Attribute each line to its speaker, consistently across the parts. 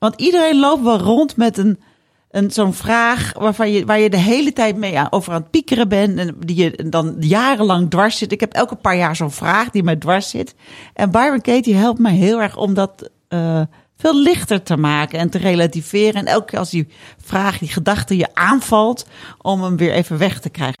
Speaker 1: Want iedereen loopt wel rond met een, een, zo'n vraag waarvan je, waar je de hele tijd mee aan- over aan het piekeren bent. En die je dan jarenlang dwars zit. Ik heb elke paar jaar zo'n vraag die mij dwars zit. En Byron Katie helpt mij heel erg om dat eh, veel lichter te maken en te relativeren. En elke keer als die vraag, die gedachte je aanvalt, om hem weer even weg te krijgen.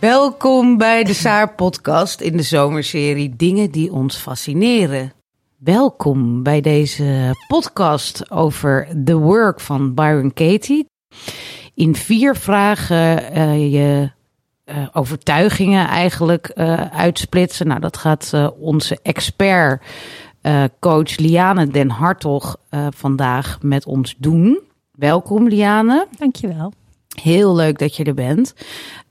Speaker 2: Welkom bij de Saar Podcast in de zomerserie Dingen die ons fascineren. Welkom bij deze podcast over The Work van Byron Katie. In vier vragen eh, je eh, overtuigingen eigenlijk eh, uitsplitsen. Nou, dat gaat eh, onze expert, eh, coach Liane Den Hartog, eh, vandaag met ons doen. Welkom, Liane.
Speaker 3: Dankjewel.
Speaker 2: Heel leuk dat je er bent.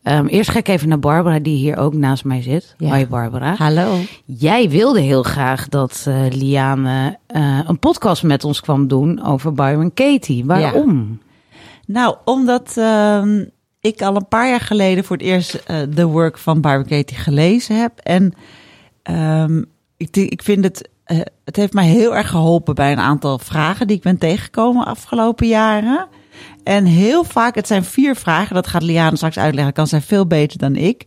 Speaker 2: Ehm, eerst ga ik even naar Barbara, die hier ook naast mij zit.
Speaker 3: Ja.
Speaker 2: Hoi Barbara.
Speaker 3: Hallo.
Speaker 2: Jij wilde heel graag dat eh, Liane eh, een podcast met ons kwam doen over Byron Katie. Waarom?
Speaker 1: Nou, omdat ehm, ik al een paar jaar geleden voor het eerst eh The Work van Byron Katie gelezen heb. En ehm, ik, denk- ik vind het, eh, het heeft mij heel erg geholpen bij een aantal vragen die ik ben tegengekomen afgelopen jaren. En heel vaak, het zijn vier vragen, dat gaat Liane straks uitleggen, kan zij veel beter dan ik.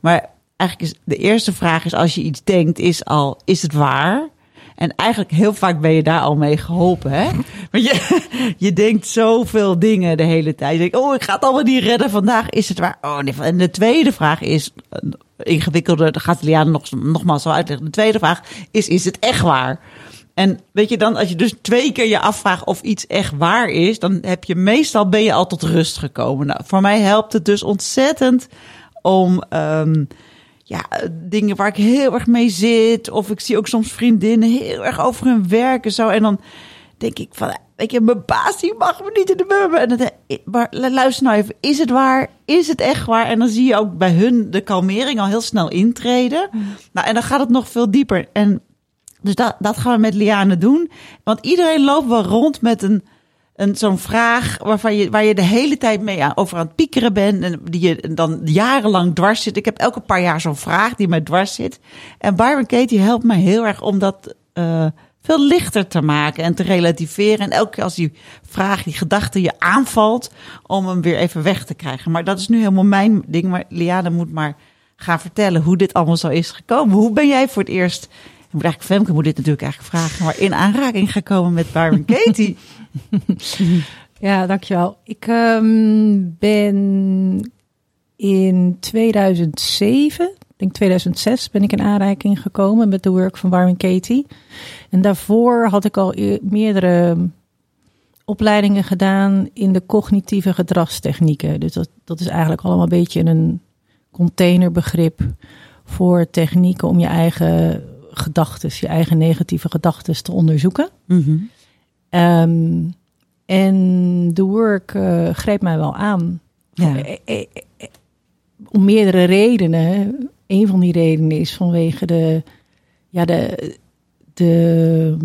Speaker 1: Maar eigenlijk is de eerste vraag is, als je iets denkt, is al, is het waar? En eigenlijk heel vaak ben je daar al mee geholpen, hè? Want je, je denkt zoveel dingen de hele tijd. Je denkt, oh, ik ga het allemaal niet redden vandaag. Is het waar? Oh, nee. En de tweede vraag is, eh, ingewikkelder, dat gaat Liana nog, nogmaals wel uitleggen. De tweede vraag is, is het echt waar? En weet je dan, als je dus twee keer je afvraagt of iets echt waar is, dan heb je meestal, ben je al tot rust gekomen. Nou, voor mij helpt het dus ontzettend om... ehm, ja, dingen waar ik heel erg mee zit. Of ik zie ook soms vriendinnen heel erg over hun werk en zo. En dan denk ik van, weet je, mijn baas die mag me niet in de mummen. En dan, maar luister nou even, is het waar? Is het echt waar? En dan zie je ook bij hun de kalmering al heel snel intreden. Nou, en dan gaat het nog veel dieper. En dus dat, dat gaan we met Liane doen. Want iedereen loopt wel rond met een, een, zo'n vraag waarvan je, waar je de hele tijd mee aan, over aan het piekeren bent. En die je dan jarenlang dwars zit. Ik heb elke paar jaar zo'n vraag die mij dwars zit. En Byron Katie helpt mij heel erg om dat eh, veel lichter te maken en te relativeren. En elke keer als die vraag, die gedachte je aanvalt, om hem weer even weg te krijgen. Maar dat is nu helemaal mijn ding. Maar Liane moet maar gaan vertellen hoe dit allemaal zo is gekomen. Hoe ben jij voor het eerst... Ik moet eigenlijk, Femke moet dit natuurlijk eigenlijk vragen, maar in aanraking gekomen met Byron Katie.
Speaker 3: Ja, dankjewel. Ik ehm, ben in 2007, ik denk 2006, ben ik in aanraking gekomen met de work van Warren Katie. En daarvoor had ik al eer- meerdere opleidingen gedaan in de cognitieve gedragstechnieken. Dus dat, dat is eigenlijk allemaal een beetje een containerbegrip voor technieken om je eigen gedachten, je eigen negatieve gedachten te onderzoeken.
Speaker 1: Mhm.
Speaker 3: Ehm, en The Work eh, greep mij wel aan.
Speaker 1: Ja.
Speaker 3: Eh, eh, eh, Om meerdere redenen. Een van die redenen is vanwege de, ja, de, de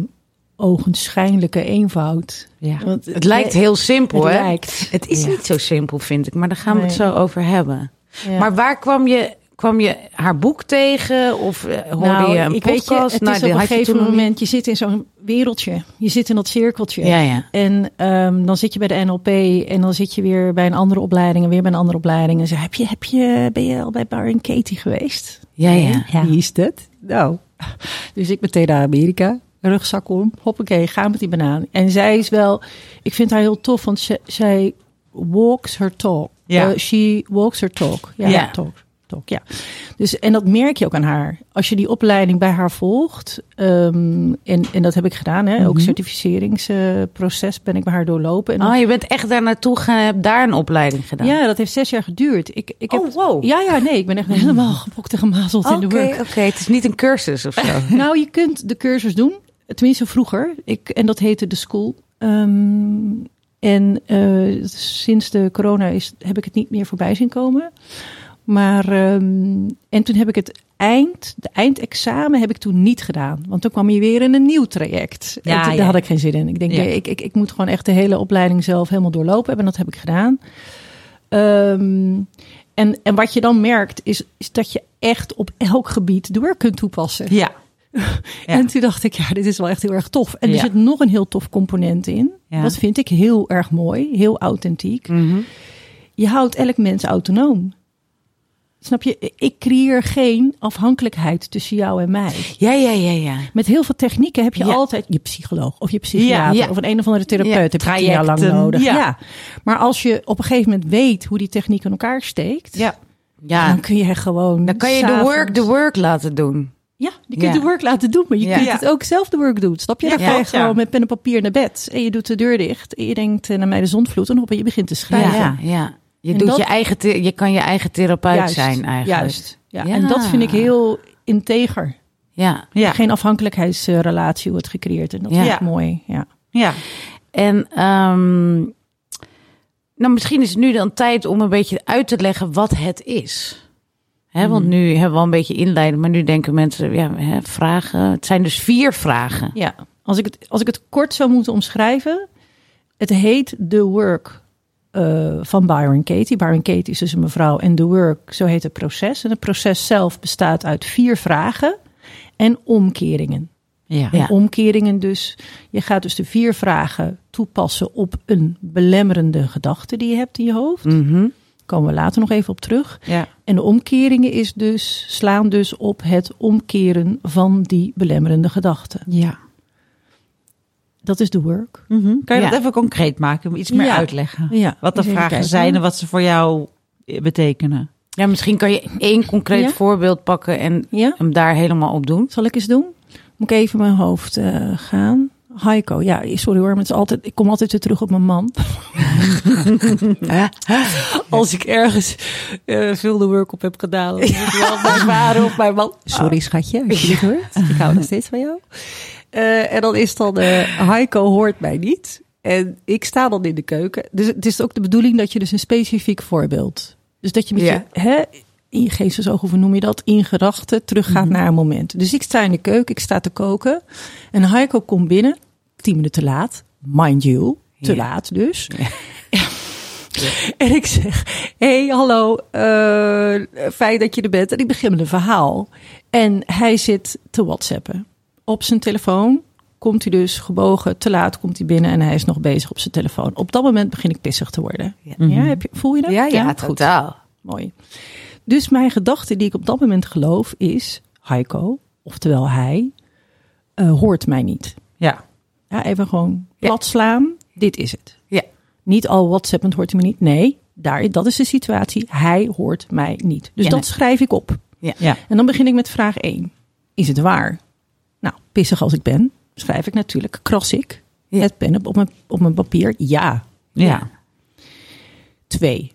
Speaker 3: ogenschijnlijke eenvoud.
Speaker 2: Ja.
Speaker 3: Want eh,
Speaker 2: Het lijkt heel simpel,
Speaker 3: het
Speaker 2: hè?
Speaker 3: lijkt.
Speaker 2: Het is
Speaker 1: Ja.
Speaker 2: niet zo simpel, vind ik. Maar daar gaan we het
Speaker 3: Nee.
Speaker 2: zo over hebben.
Speaker 3: Ja.
Speaker 2: Maar waar kwam je, kwam je haar boek tegen? Of eh, hoorde
Speaker 3: Nou,
Speaker 2: je een
Speaker 3: ik weet
Speaker 2: podcast?
Speaker 3: je, het
Speaker 2: Nou,
Speaker 3: is
Speaker 2: die
Speaker 3: op een
Speaker 2: had je
Speaker 3: gegeven
Speaker 2: toen nog
Speaker 3: moment, je zit in zo'n wereldje. Je zit in dat cirkeltje.
Speaker 2: niet. Ja, ja.
Speaker 3: En ehm, dan zit je bij de NLP en dan zit je weer bij een andere opleiding en weer bij een andere opleiding. En ze heb je, heb je, ben je al bij Baron Katie geweest?
Speaker 2: Ja, ja.
Speaker 3: Wie is dat? Nou, dus ik meteen naar Amerika, rugzak om, hoppakee, ga met die banaan. En zij is wel, ik vind haar heel tof, want ze, zij walks her talk.
Speaker 1: Ja.
Speaker 3: Eh, she walks her talk. Ja,
Speaker 2: Ja.
Speaker 3: talk. Talk, ja. Dus, en dat merk je ook aan haar. Als je die opleiding bij haar volgt, ehm, en, en dat heb ik gedaan, hè, ook
Speaker 1: Mhm.
Speaker 3: certificeringsproces ben ik bij haar doorlopen. En dan-
Speaker 2: Oh, je bent echt daar naartoe gegaan en hebt daar een opleiding gedaan.
Speaker 3: ja, dat heeft zes jaar geduurd. Ik, ik heb,
Speaker 2: Ah, Oh, wow.
Speaker 3: Ja, ja, nee, ik ben echt helemaal gebokt en gemazeld
Speaker 2: Oké,
Speaker 3: in de work.
Speaker 2: oké. Het is niet een cursus of zo.
Speaker 3: Nou, je kunt de cursus doen. Tenminste, vroeger. Ik, en dat heette de school. Ehm, en eh, sinds de corona is, heb ik het niet meer voorbij zien komen. Maar, ehm, en toen heb ik het eind, de eindexamen heb ik toen niet gedaan. Want toen kwam je weer in een nieuw traject.
Speaker 1: Ja,
Speaker 3: en toen-
Speaker 1: ja.
Speaker 3: daar had ik geen zin in. Ik denk,
Speaker 1: Ja.
Speaker 3: nee, ik, ik, ik moet gewoon echt de hele opleiding zelf helemaal doorlopen hebben. En dat heb ik gedaan. Ehm, en, en wat je dan merkt, is, is dat je echt op elk gebied door kunt toepassen.
Speaker 1: Ja. Ja.
Speaker 3: En toen dacht ik, ja, dit is wel echt heel erg tof. En er
Speaker 1: Ja.
Speaker 3: zit nog een heel tof component in.
Speaker 1: Ja.
Speaker 3: Dat vind ik heel erg mooi, heel authentiek.
Speaker 2: Mhm.
Speaker 3: Je houdt elk mens autonoom. Snap je? Ik creëer geen afhankelijkheid tussen jou en mij.
Speaker 2: Ja, ja, ja, ja.
Speaker 3: Met heel veel technieken heb je
Speaker 2: Ja.
Speaker 3: altijd je psycholoog of je psychiater
Speaker 2: Ja, ja.
Speaker 3: of een een of andere therapeut.
Speaker 2: Ja,
Speaker 3: heb je tien jaar lang
Speaker 1: trajecten,
Speaker 3: nodig.
Speaker 1: ja.
Speaker 3: Maar als je op een gegeven moment weet hoe die techniek in elkaar steekt,
Speaker 1: Ja.
Speaker 2: Ja,
Speaker 3: dan kun je gewoon.
Speaker 2: dan kan je de
Speaker 3: s'avonds-
Speaker 2: work, de work laten doen.
Speaker 3: Ja, je kunt
Speaker 2: Ja.
Speaker 3: de work laten doen, maar je
Speaker 2: Ja.
Speaker 3: kunt
Speaker 1: Ja.
Speaker 3: het ook zelf de work doen. Snap je?
Speaker 1: Ja,
Speaker 3: Dan ga je
Speaker 1: klopt, ja.
Speaker 3: gewoon met pen en papier naar bed en je doet de deur dicht en je denkt eh, naar mij de zonvloed en hoppa, je begint te schrijven.
Speaker 2: ja. ja. Je,
Speaker 3: En
Speaker 2: doet
Speaker 3: dat-
Speaker 2: je, eigen the- je kan je eigen therapeut
Speaker 3: Juist,
Speaker 2: zijn eigenlijk.
Speaker 3: Juist. Ja. En dat vind ik heel integer.
Speaker 2: Ja.
Speaker 1: Ja.
Speaker 3: Geen afhankelijkheidsrelatie wordt gecreëerd en dat
Speaker 2: Ja.
Speaker 3: vind ik mooi. Ja.
Speaker 1: Ja.
Speaker 2: En ehm, nou, misschien is het nu dan tijd om een beetje uit te leggen wat het is.
Speaker 3: Hmm.
Speaker 2: Hè, want nu hebben we al een beetje inleiding, maar nu denken mensen, ja, hè, vragen. Het zijn dus vier vragen.
Speaker 3: Ja, als ik, het, als ik het kort zou moeten omschrijven. Het heet The Work eh, van Byron Katie. Byron Katie is dus een mevrouw. En The Work, zo heet het proces. En het proces zelf bestaat uit vier vragen en omkeringen.
Speaker 1: Ja.
Speaker 2: Ja.
Speaker 3: En omkeringen dus. Je gaat dus de vier vragen toepassen op een belemmerende gedachte die je hebt in je hoofd.
Speaker 2: Mhm.
Speaker 3: Komen we later nog even op terug.
Speaker 1: Ja.
Speaker 3: En de omkeringen is dus, slaan dus op het omkeren van die belemmerende gedachte.
Speaker 1: Ja.
Speaker 3: Dat is The Work.
Speaker 1: Mhm. Kan je
Speaker 2: Ja.
Speaker 1: dat even concreet maken? Iets meer
Speaker 3: Ja.
Speaker 1: uitleggen.
Speaker 3: Ja,
Speaker 1: Wat de
Speaker 3: eens even
Speaker 1: vragen
Speaker 3: kijken.
Speaker 1: zijn en wat ze voor jou eh, betekenen.
Speaker 2: Ja, misschien kan je één concreet
Speaker 3: Ja.
Speaker 2: voorbeeld pakken en
Speaker 3: Ja,
Speaker 2: hem daar helemaal op doen.
Speaker 3: zal ik eens doen? Moet ik even mijn hoofd eh, gaan? Heiko, ja, sorry hoor, maar het is altijd, ik kom altijd weer terug op mijn man. Als ik ergens eh, veel de work op heb gedaan, dan is het wel mijn vader of mijn man. Ah. Sorry schatje, als je dit hoort. Ik hou nog steeds van jou. Eh, en dan is dan, eh Heiko hoort mij niet. En ik sta dan in de keuken. Dus het is ook de bedoeling dat je dus een specifiek voorbeeld. Dus dat je met
Speaker 2: Ja.
Speaker 3: je, hè, in je geestesoog, of hoe noem je dat, in gedachten teruggaat naar een moment. Dus ik sta in de keuken, ik sta te koken. En Heiko komt binnen, tien minuten te laat. Mind you, te
Speaker 2: Ja.
Speaker 3: laat dus. En ik zeg, hé, hey, hallo, eh, fijn dat je er bent. En ik begin met een verhaal. En hij zit te whatsappen. Op zijn telefoon komt hij dus gebogen, te laat komt hij binnen en hij is nog bezig op zijn telefoon. Op dat moment begin ik pissig te worden. Ja, Mhm. heb je, voel je dat?
Speaker 2: totaal.
Speaker 3: Mooi. Dus mijn gedachte die ik op dat moment geloof is, Heiko, oftewel hij, eh, hoort mij niet.
Speaker 1: Ja.
Speaker 3: Ja, even gewoon plat slaan, dit is het.
Speaker 2: Ja.
Speaker 3: Niet al WhatsAppend hoort hij me niet. Nee, daar, dat is de situatie. Hij hoort mij niet. Dus
Speaker 2: Ja,
Speaker 3: dat
Speaker 2: nee.
Speaker 3: schrijf ik op.
Speaker 1: Ja.
Speaker 3: En dan begin ik met vraag 1. Is het waar? Nou, pissig als ik ben, schrijf ik natuurlijk, kras ik
Speaker 2: Ja.
Speaker 3: het pen op, op, mijn, op mijn papier. Ja.
Speaker 1: Ja.
Speaker 3: Twee.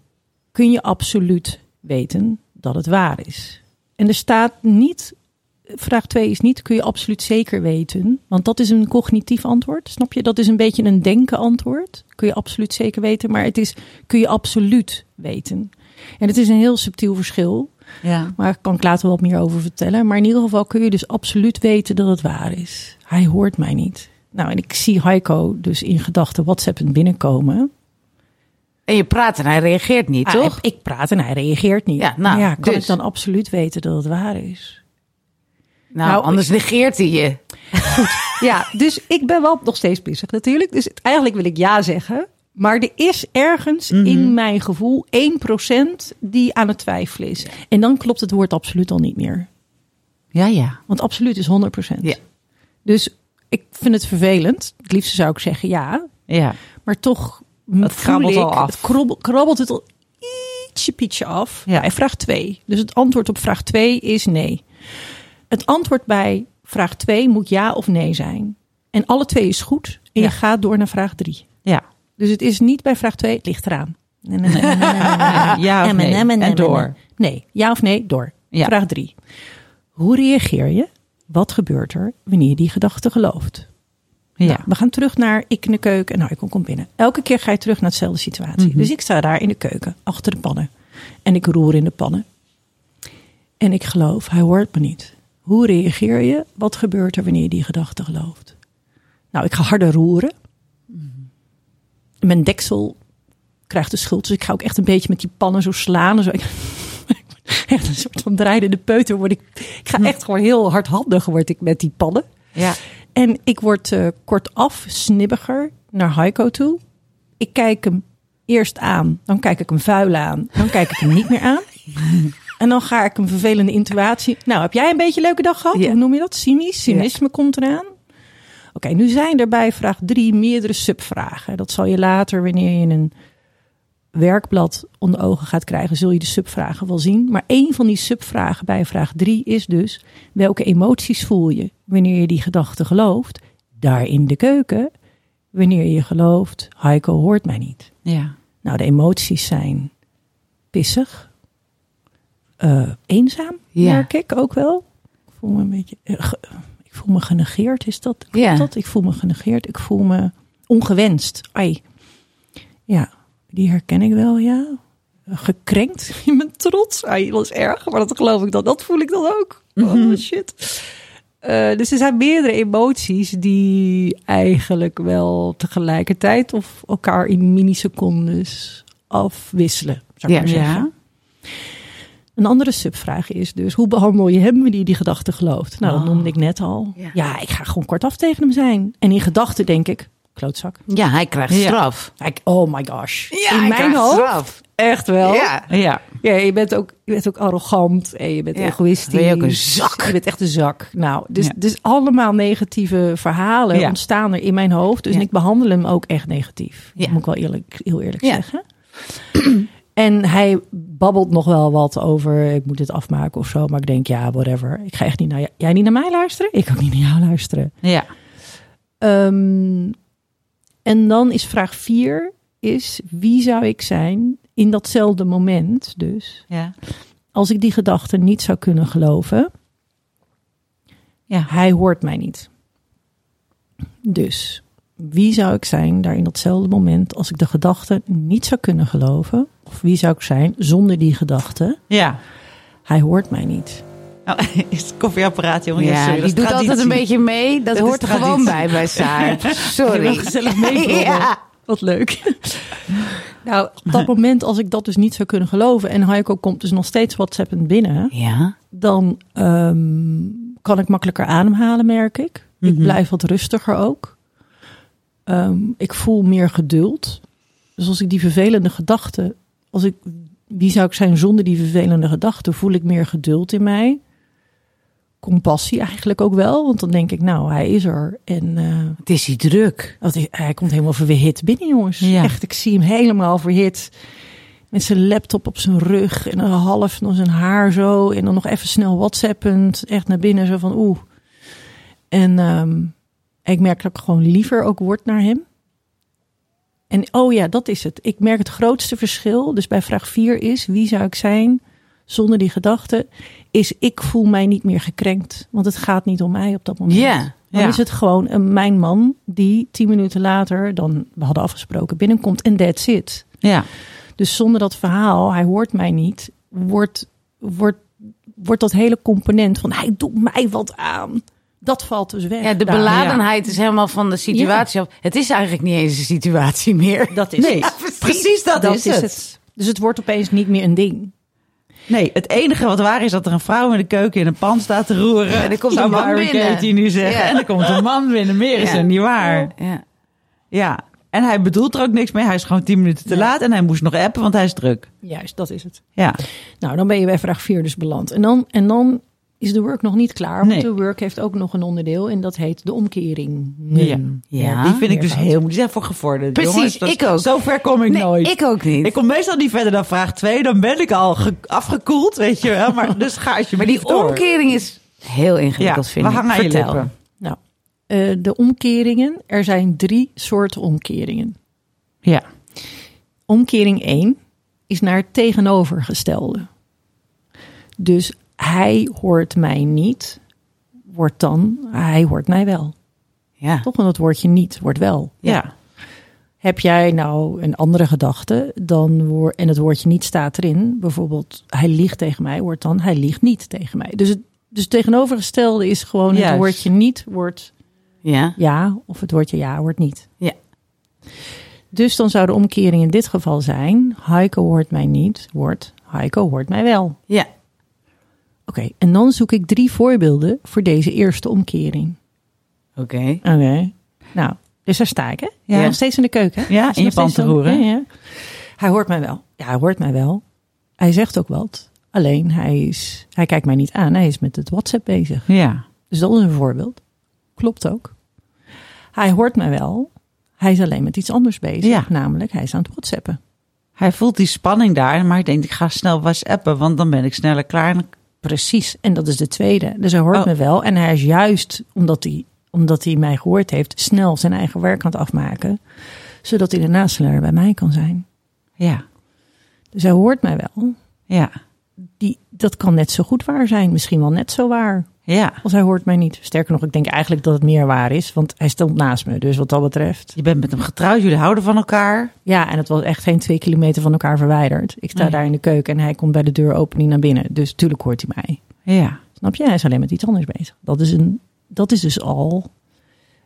Speaker 3: Kun je absoluut weten dat het waar is? En er staat niet, vraag 2 is niet, kun je absoluut zeker weten? Want dat is een cognitief antwoord, snap je? Dat is een beetje een denken antwoord. Kun je absoluut zeker weten, maar het is, kun je absoluut weten? En het is een heel subtiel verschil,
Speaker 1: Ja.
Speaker 3: maar daar kan ik later wat meer over vertellen. Maar in ieder geval kun je dus absoluut weten dat het waar is. Hij hoort mij niet. Nou, en ik zie Heiko dus in gedachten WhatsAppend binnenkomen.
Speaker 2: En je praat en hij reageert niet,
Speaker 3: Ah,
Speaker 2: toch?
Speaker 3: hij- Ik praat en hij reageert niet.
Speaker 2: Ja,
Speaker 3: Ja,
Speaker 2: nou,
Speaker 3: ja, kan
Speaker 2: dus.
Speaker 3: ik dan absoluut weten dat het waar is?
Speaker 2: nou,
Speaker 3: nou,
Speaker 2: anders negeert hij je.
Speaker 3: Ja, dus ik ben wel nog steeds bezig natuurlijk. Dus het- eigenlijk wil ik ja zeggen. Maar er is ergens in mijn gevoel 1% die aan het twijfelen is. En dan klopt het woord absoluut al niet meer.
Speaker 2: Ja, ja.
Speaker 3: Want absoluut is 100%.
Speaker 2: Ja.
Speaker 3: Dus ik vind het vervelend. Het liefste zou ik zeggen ja.
Speaker 2: Ja.
Speaker 3: Maar toch
Speaker 1: Het
Speaker 3: voel
Speaker 1: krabbelt
Speaker 3: ik-
Speaker 1: al af.
Speaker 3: Het krabbel- krabbelt het al ietsje pietje af.
Speaker 1: Ja.
Speaker 3: Bij vraag 2. Dus het antwoord op vraag 2 is nee. Het antwoord bij vraag 2 moet ja of nee zijn. En alle twee is goed.
Speaker 1: Ja.
Speaker 3: En je gaat door naar vraag 3.
Speaker 1: Ja.
Speaker 3: Dus het is niet bij vraag 2, het ligt eraan. Nee, nee, nee, nee, nee, nee, nee.
Speaker 1: Ja of
Speaker 3: En
Speaker 1: nee?
Speaker 3: en en
Speaker 1: En
Speaker 3: en
Speaker 1: door.
Speaker 3: en. Nee, ja of nee, door.
Speaker 1: Ja.
Speaker 3: Vraag 3. Hoe reageer je? Wat gebeurt er wanneer je die gedachte gelooft?
Speaker 1: Ja.
Speaker 3: Nou, We gaan terug naar ik in de keuken en Heiko komt binnen. Elke keer ga je terug naar hetzelfde situatie. Dus ik sta daar in de keuken, achter de pannen. En ik roer in de pannen. En ik geloof, hij hoort me niet. Hoe reageer je? Wat gebeurt er wanneer je die gedachte gelooft? Nou, ik ga harder roeren. Mijn deksel krijgt de schuld. Dus ik ga ook echt een beetje met die pannen zo slaan. En zo. Ik, echt een soort van draaiende peuter word ik. Ik ga echt gewoon heel hardhandig word ik met die pannen.
Speaker 1: Ja.
Speaker 3: En ik word eh, kortaf, snibbiger naar Heiko toe. Ik kijk hem eerst aan, dan kijk ik hem vuil aan, dan kijk ik hem niet meer aan. En dan ga ik een vervelende intuïtie. Nou, heb jij een beetje een leuke dag gehad?
Speaker 2: Ja.
Speaker 3: Hoe noem je dat? Cynisch, cynisme komt eraan. Oké, nu zijn er bij vraag drie meerdere subvragen. Dat zal je later, wanneer je een werkblad onder ogen gaat krijgen, zul je de subvragen wel zien. Maar één van die subvragen bij vraag 3 is dus: welke emoties voel je wanneer je die gedachte gelooft? Daar in de keuken, wanneer je gelooft, Heiko hoort mij niet.
Speaker 1: Ja.
Speaker 3: Nou, de emoties zijn pissig, eh, eenzaam,
Speaker 2: Ja.
Speaker 3: merk ik ook wel. Ik voel me een beetje, eh, ge- ik voel me genegeerd, is dat? klopt
Speaker 2: Ja.
Speaker 3: dat? Ik voel me genegeerd, ik voel me ongewenst. Ai. Ja, die herken ik wel, ja. Eh, Gekrenkt in mijn trots. Ai, dat is erg, maar dat geloof ik dan. Dat voel ik dan ook.
Speaker 2: Mhm.
Speaker 3: Oh, shit. Eh, dus er zijn meerdere emoties die eigenlijk wel tegelijkertijd of elkaar in minisecondes afwisselen, zou ik
Speaker 2: Ja.
Speaker 3: maar zeggen.
Speaker 1: Ja.
Speaker 3: Een andere subvraag is dus, hoe behandel je hem die die gedachte gelooft? Nou, dat noemde ik net al.
Speaker 2: Oh. Ja.
Speaker 3: Ja. ik ga gewoon kortaf tegen hem zijn. En in gedachten denk ik, klootzak.
Speaker 2: Ja, hij krijgt
Speaker 1: Ja.
Speaker 2: straf.
Speaker 3: Ik, oh my gosh.
Speaker 2: Ja, hij
Speaker 3: in mijn
Speaker 2: krijgt
Speaker 3: hoofd.
Speaker 2: straf.
Speaker 3: Echt wel.
Speaker 2: Ja.
Speaker 1: Ja.
Speaker 3: Ja, je bent ook, je bent ook arrogant en je bent
Speaker 2: Ja.
Speaker 3: egoïstisch.
Speaker 2: Ben je ook een zak?
Speaker 3: Je bent echt een zak. Nou, dus,
Speaker 1: Ja.
Speaker 3: dus allemaal negatieve verhalen
Speaker 1: Ja.
Speaker 3: ontstaan er in mijn hoofd. Dus
Speaker 2: Ja.
Speaker 3: ik behandel hem ook echt negatief.
Speaker 2: Ja.
Speaker 3: Dat moet ik wel eerlijk, heel eerlijk
Speaker 2: Ja.
Speaker 3: zeggen. En hij babbelt nog wel wat over, ik moet dit afmaken of zo. Maar ik denk, ja, whatever. Ik ga echt niet naar jou- jij niet naar mij luisteren. Ik ook niet naar jou luisteren.
Speaker 1: Ja.
Speaker 3: Ehm, en dan is vraag vier, is wie zou ik zijn in datzelfde moment dus
Speaker 1: Ja.
Speaker 3: als ik die gedachte niet zou kunnen geloven,
Speaker 1: Ja.
Speaker 3: hij hoort mij niet. Dus wie zou ik zijn daar in datzelfde moment als ik de gedachte niet zou kunnen geloven? Of wie zou ik zijn zonder die gedachte?
Speaker 1: Ja.
Speaker 3: Hij hoort mij niet.
Speaker 1: Oh, is het koffieapparaat, jongen?
Speaker 2: ja,
Speaker 1: Oh sorry, dat
Speaker 2: die
Speaker 1: is
Speaker 2: doet altijd een
Speaker 1: traditie.
Speaker 2: beetje mee. Dat,
Speaker 1: Dat
Speaker 2: hoort er
Speaker 1: is
Speaker 2: gewoon
Speaker 1: traditie.
Speaker 2: bij bij Saar. Sorry.
Speaker 3: gezellig meebrullen.
Speaker 2: Ja.
Speaker 3: Wat leuk. nou, op dat moment als ik dat dus niet zou kunnen geloven en Heiko komt dus nog steeds WhatsAppend binnen,
Speaker 2: Ja.
Speaker 3: dan ehm, kan ik makkelijker ademhalen, merk ik. Ik blijf wat rustiger ook. Ehm, ik voel meer geduld. Dus als ik die vervelende gedachten, als ik, wie zou ik zijn zonder die vervelende gedachten, voel ik meer geduld in mij. Compassie eigenlijk ook wel, want dan denk ik, nou, hij is er. En eh,
Speaker 2: Het is die druk.
Speaker 3: dat is- hij komt helemaal verhit binnen, jongens.
Speaker 1: Ja.
Speaker 3: Echt, ik zie hem helemaal verhit. Met zijn laptop op zijn rug en een half nog zijn haar zo. En dan nog even snel whatsappend. Echt naar binnen, zo van oeh. En ehm, ik merk dat ik gewoon liever ook word naar hem. En oh ja, dat is het. Ik merk het grootste verschil. Dus bij vraag 4 is, wie zou ik zijn zonder die gedachte, is ik voel mij niet meer gekrenkt. Want het gaat niet om mij op dat moment.
Speaker 2: Ja.
Speaker 3: Dan
Speaker 2: ja.
Speaker 3: is het gewoon een, mijn man die tien minuten later dan we hadden afgesproken binnenkomt en that's it.
Speaker 1: Ja.
Speaker 3: Dus zonder dat verhaal, hij hoort mij niet, wordt, wordt, wordt dat hele component van hij doet mij wat aan. Dat valt dus weg.
Speaker 2: Ja, de
Speaker 3: daar.
Speaker 1: nou,
Speaker 2: beladenheid is helemaal van de situatie af. Het is eigenlijk niet eens een situatie meer.
Speaker 3: Dat is
Speaker 1: Nee,
Speaker 3: het.
Speaker 1: precies, dat, is, het.
Speaker 3: Dus het wordt opeens niet meer een ding.
Speaker 1: Nee, het enige wat waar is dat er een vrouw in de keuken in een pan staat te roeren.
Speaker 2: En er komt
Speaker 1: Zou
Speaker 2: een man
Speaker 1: Byron
Speaker 2: binnen.
Speaker 1: Katie nu zeggen.
Speaker 2: Ja.
Speaker 1: En er komt een man binnen. Meer is
Speaker 2: Ja.
Speaker 1: er niet waar.
Speaker 2: Ja.
Speaker 1: Ja. En hij bedoelt er ook niks mee. Hij is gewoon tien minuten te laat. En hij moest nog appen, want hij is druk.
Speaker 3: Juist, dat is het.
Speaker 1: Ja.
Speaker 3: Nou, dan ben je bij vraag 4 dus beland. En dan, en dan is de work nog niet klaar. Want
Speaker 1: Nee.
Speaker 3: de work heeft ook nog een onderdeel en dat heet de omkering.
Speaker 1: Ja.
Speaker 2: Ja.
Speaker 1: Die vind ik dus
Speaker 3: meervoud.
Speaker 1: heel moeilijk. Die zijn voor gevorderd.
Speaker 2: Precies,
Speaker 1: jongens. Dat-
Speaker 2: ik ook.
Speaker 1: Zo ver kom ik
Speaker 2: Nee,
Speaker 1: nooit.
Speaker 2: ik ook niet.
Speaker 1: Ik kom meestal niet verder dan vraag 2. Dan ben ik al ge- afgekoeld, weet je wel. Maar dus ga alsjeblieft
Speaker 2: maar die
Speaker 1: door.
Speaker 2: omkering is heel ingewikkeld,
Speaker 1: Ja,
Speaker 2: vind
Speaker 1: we
Speaker 2: ik.
Speaker 1: hangen aan je
Speaker 2: Vertel.
Speaker 1: lippen.
Speaker 3: Nou, eh, de omkeringen. Er zijn drie soorten omkeringen.
Speaker 1: Ja.
Speaker 3: Omkering 1 is naar het tegenovergestelde. Dus hij hoort mij niet, wordt dan hij hoort mij wel.
Speaker 2: Ja.
Speaker 3: Toch? Want dat woordje niet wordt wel.
Speaker 1: Ja.
Speaker 3: Heb jij nou een andere gedachte dan woor- en het woordje niet staat erin, bijvoorbeeld hij liegt tegen mij, wordt dan hij liegt niet tegen mij. Dus het dus het tegenovergestelde is gewoon
Speaker 1: Juist.
Speaker 3: het woordje niet wordt
Speaker 2: Ja.
Speaker 3: ja of het woordje ja wordt niet.
Speaker 2: Ja.
Speaker 3: Dus dan zou de omkering in dit geval zijn: Heiko hoort mij niet, wordt Heiko hoort mij wel. Oké,
Speaker 2: Ja.
Speaker 3: en dan zoek ik drie voorbeelden voor deze eerste omkering.
Speaker 2: Oké.
Speaker 3: Oké. Nou, dus daar sta ik, hè?
Speaker 1: Ja.
Speaker 3: Ja. Nog steeds in de keuken. hè?
Speaker 1: Ja,
Speaker 3: Is
Speaker 1: in je
Speaker 3: nog steeds
Speaker 1: pan te
Speaker 3: zo-
Speaker 1: roeren.
Speaker 3: Ja, ja. Hij hoort mij wel. Ja, hij hoort mij wel. Hij zegt ook wat. Alleen hij, is, hij kijkt mij niet aan. Hij is met het WhatsApp bezig.
Speaker 1: Ja.
Speaker 3: Dus dat is een voorbeeld. Klopt ook. Hij hoort mij wel. Hij is alleen met iets anders bezig.
Speaker 1: Ja.
Speaker 3: Namelijk, hij is aan het WhatsAppen.
Speaker 1: Hij voelt die spanning daar, maar hij denkt, ik ga snel whatsappen, want dan ben ik sneller klaar. En-
Speaker 3: Precies. En dat is de tweede. Dus hij hoort
Speaker 1: Oh.
Speaker 3: me wel. En hij is juist, omdat hij, omdat hij mij gehoord heeft, snel zijn eigen werk aan het afmaken. Zodat hij daarna sneller bij mij kan zijn.
Speaker 1: Ja,
Speaker 3: Dus hij hoort mij wel.
Speaker 1: ja,
Speaker 3: Die, dat kan net zo goed waar zijn. Misschien wel net zo waar.
Speaker 1: ja.
Speaker 3: Als hij hoort mij niet. Sterker nog, ik denk eigenlijk dat het meer waar is. Want hij stond naast me. Dus wat dat betreft.
Speaker 1: Je bent met hem getrouwd, jullie houden van elkaar.
Speaker 3: Ja, en het was echt geen twee kilometer van elkaar verwijderd. Ik sta
Speaker 1: Nee.
Speaker 3: daar in de keuken en hij komt bij de deuropening naar binnen. Dus tuurlijk hoort hij mij.
Speaker 1: Ja,
Speaker 3: Snap je? Hij is alleen met iets anders bezig. Dat is, een, dat is dus al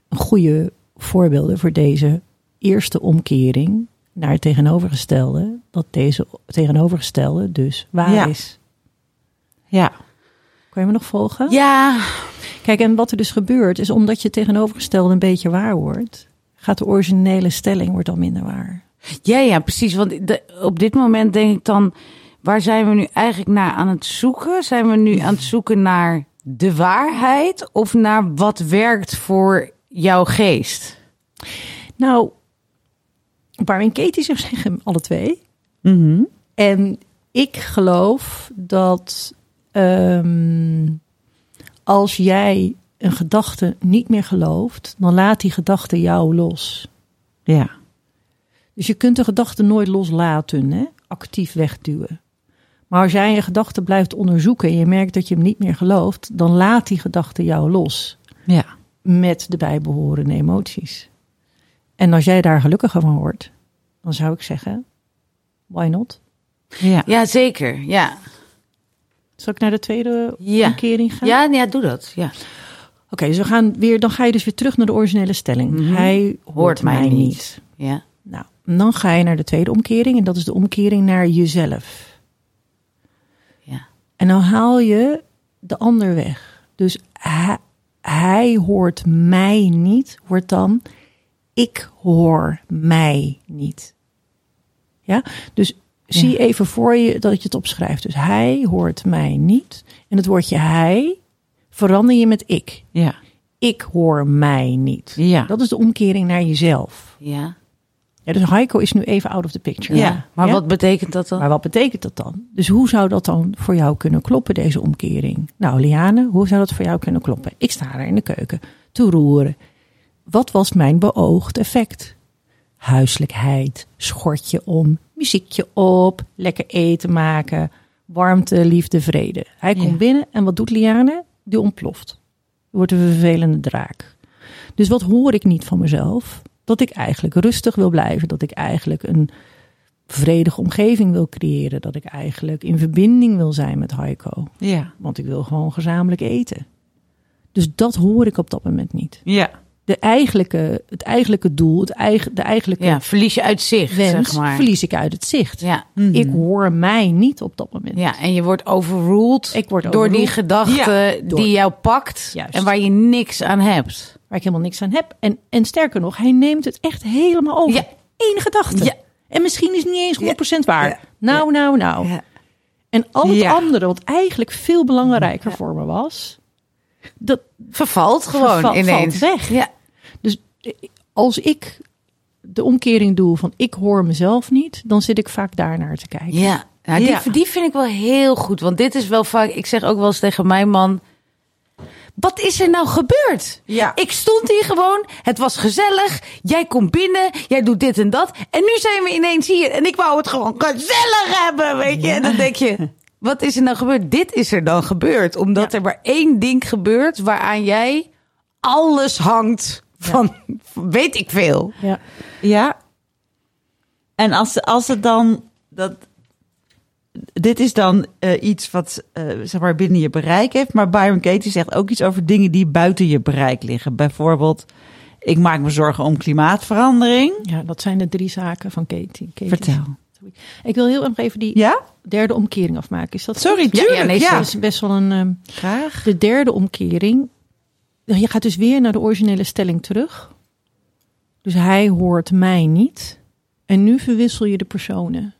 Speaker 3: een goede voorbeelden voor deze eerste omkering naar het tegenovergestelde. Dat deze tegenovergestelde dus waar
Speaker 1: Ja.
Speaker 3: is.
Speaker 1: ja,
Speaker 3: Kun je me nog volgen?
Speaker 2: Ja.
Speaker 3: Kijk, en wat er dus gebeurt is omdat je het tegenovergestelde een beetje waar wordt, gaat de originele stelling wordt dan minder waar.
Speaker 2: Ja, ja, precies. Want de- op dit moment denk ik dan, waar zijn we nu eigenlijk naar aan het zoeken? Zijn we nu aan het zoeken naar de waarheid of naar wat werkt voor jouw geest?
Speaker 3: Nou, Barry en Katie zou zeggen, alle twee. En ik geloof dat ehm, als jij een gedachte niet meer gelooft, dan laat die gedachte jou los.
Speaker 1: ja,
Speaker 3: Dus je kunt de gedachte nooit loslaten, hè? actief wegduwen. Maar als jij je gedachte blijft onderzoeken en je merkt dat je hem niet meer gelooft, dan laat die gedachte jou los
Speaker 1: ja.
Speaker 3: met de bijbehorende emoties. En als jij daar gelukkiger van wordt, dan zou ik zeggen, why not?
Speaker 1: ja.
Speaker 2: Ja, zeker. Ja.
Speaker 3: Zal ik naar de tweede
Speaker 2: Ja.
Speaker 3: omkering gaan?
Speaker 2: Ja, ja, doe dat. Ja.
Speaker 3: Oké, dus we gaan weer, dan ga je dus weer terug naar de originele stelling. Hij Mhm. hoort, mij, niet.
Speaker 2: Ja.
Speaker 3: Nou, en dan ga je naar de tweede omkering en dat is de omkering naar jezelf.
Speaker 2: Ja.
Speaker 3: En dan haal je de ander weg. Dus hij, hij hoort mij niet, wordt dan ik hoor mij niet. Ja, dus zie even voor je dat je het opschrijft. Dus hij hoort mij niet. En het woordje hij verander je met ik.
Speaker 1: ja.
Speaker 3: Ik hoor mij niet.
Speaker 1: Ja.
Speaker 3: Dat is de omkering naar jezelf.
Speaker 2: Ja.
Speaker 3: Ja, dus Heiko is nu even out of the picture.
Speaker 1: Ja,
Speaker 2: Maar
Speaker 3: Ja?
Speaker 2: wat betekent dat dan?
Speaker 3: Maar wat betekent dat dan? Dus hoe zou dat dan voor jou kunnen kloppen, deze omkering? Nou, Liane, hoe zou dat voor jou kunnen kloppen? Ik sta daar in de keuken te roeren. Wat was mijn beoogd effect? Huiselijkheid, schortje om, muziekje op, lekker eten maken, warmte, liefde, vrede. Hij komt
Speaker 2: Ja.
Speaker 3: binnen en wat doet Liane? Die ontploft. Wordt een vervelende draak. Dus wat hoor ik niet van mezelf? Dat ik eigenlijk rustig wil blijven. Dat ik eigenlijk een vredige omgeving wil creëren. Dat ik eigenlijk in verbinding wil zijn met Heiko.
Speaker 1: Ja.
Speaker 3: Want ik wil gewoon gezamenlijk eten. Dus dat hoor ik op dat moment niet.
Speaker 1: Ja.
Speaker 3: De eigenlijke, het eigenlijke doel, het eigen, de eigenlijke
Speaker 2: Ja, verlies je uit zicht,
Speaker 3: wens
Speaker 2: zeg maar.
Speaker 3: verlies ik uit het zicht.
Speaker 2: Ja.
Speaker 3: Ik hoor mij niet op dat moment.
Speaker 2: ja, en je wordt overruled
Speaker 3: Ik word
Speaker 2: door die
Speaker 3: overruled.
Speaker 2: gedachte
Speaker 1: Ja,
Speaker 3: door-
Speaker 2: die jou pakt
Speaker 3: Juist.
Speaker 2: en waar je niks aan hebt.
Speaker 3: Waar ik helemaal niks aan heb. En, en sterker nog, hij neemt het echt helemaal over.
Speaker 2: Ja.
Speaker 3: Eén gedachte.
Speaker 2: Ja.
Speaker 3: En misschien is het niet
Speaker 2: Ja.
Speaker 3: eens 100% waar.
Speaker 2: Ja.
Speaker 3: Nou, nou, nou. En al het
Speaker 2: Ja.
Speaker 3: andere, wat eigenlijk veel belangrijker voor me was. Dat,
Speaker 2: Vervalt gewoon
Speaker 3: Verval-
Speaker 2: ineens.
Speaker 3: valt weg.
Speaker 2: Ja.
Speaker 3: dus eh, als ik de omkering doe van ik hoor mezelf niet, dan zit ik vaak daarnaar te kijken.
Speaker 2: Ja, nou, die,
Speaker 1: Ja.
Speaker 2: die vind ik wel heel goed. Want dit is wel vaak, ik zeg ook wel eens tegen mijn man. Wat is er nou gebeurd?
Speaker 1: Ja.
Speaker 2: Ik stond hier gewoon, het was gezellig. Jij komt binnen, jij doet dit en dat. En nu zijn we ineens hier en ik wou het gewoon gezellig hebben, weet je. En dan denk je, wat is er nou gebeurd? Dit is er dan gebeurd. Omdat er maar één ding gebeurt waaraan jij alles hangt van, van weet ik veel.
Speaker 3: Ja.
Speaker 1: Ja. En als, als het dan. Dat, dit is dan eh, iets wat eh, zeg maar binnen je bereik heeft. Maar Byron Katie zegt ook iets over dingen die buiten je bereik liggen. Bijvoorbeeld, ik maak me zorgen om klimaatverandering.
Speaker 3: ja, dat zijn de drie zaken van Katie. Katie-
Speaker 1: Vertel.
Speaker 3: Ik wil heel erg even die
Speaker 1: Ja?
Speaker 3: derde omkering afmaken. Is dat
Speaker 1: Sorry,
Speaker 3: goed?
Speaker 2: Ja,
Speaker 1: tuurlijk. Ja,
Speaker 2: ja, nee,
Speaker 3: Dat is best wel een. ehm,
Speaker 1: graag.
Speaker 3: De derde omkering. Je gaat dus weer naar de originele stelling terug. Dus hij hoort mij niet. En nu verwissel je de personen.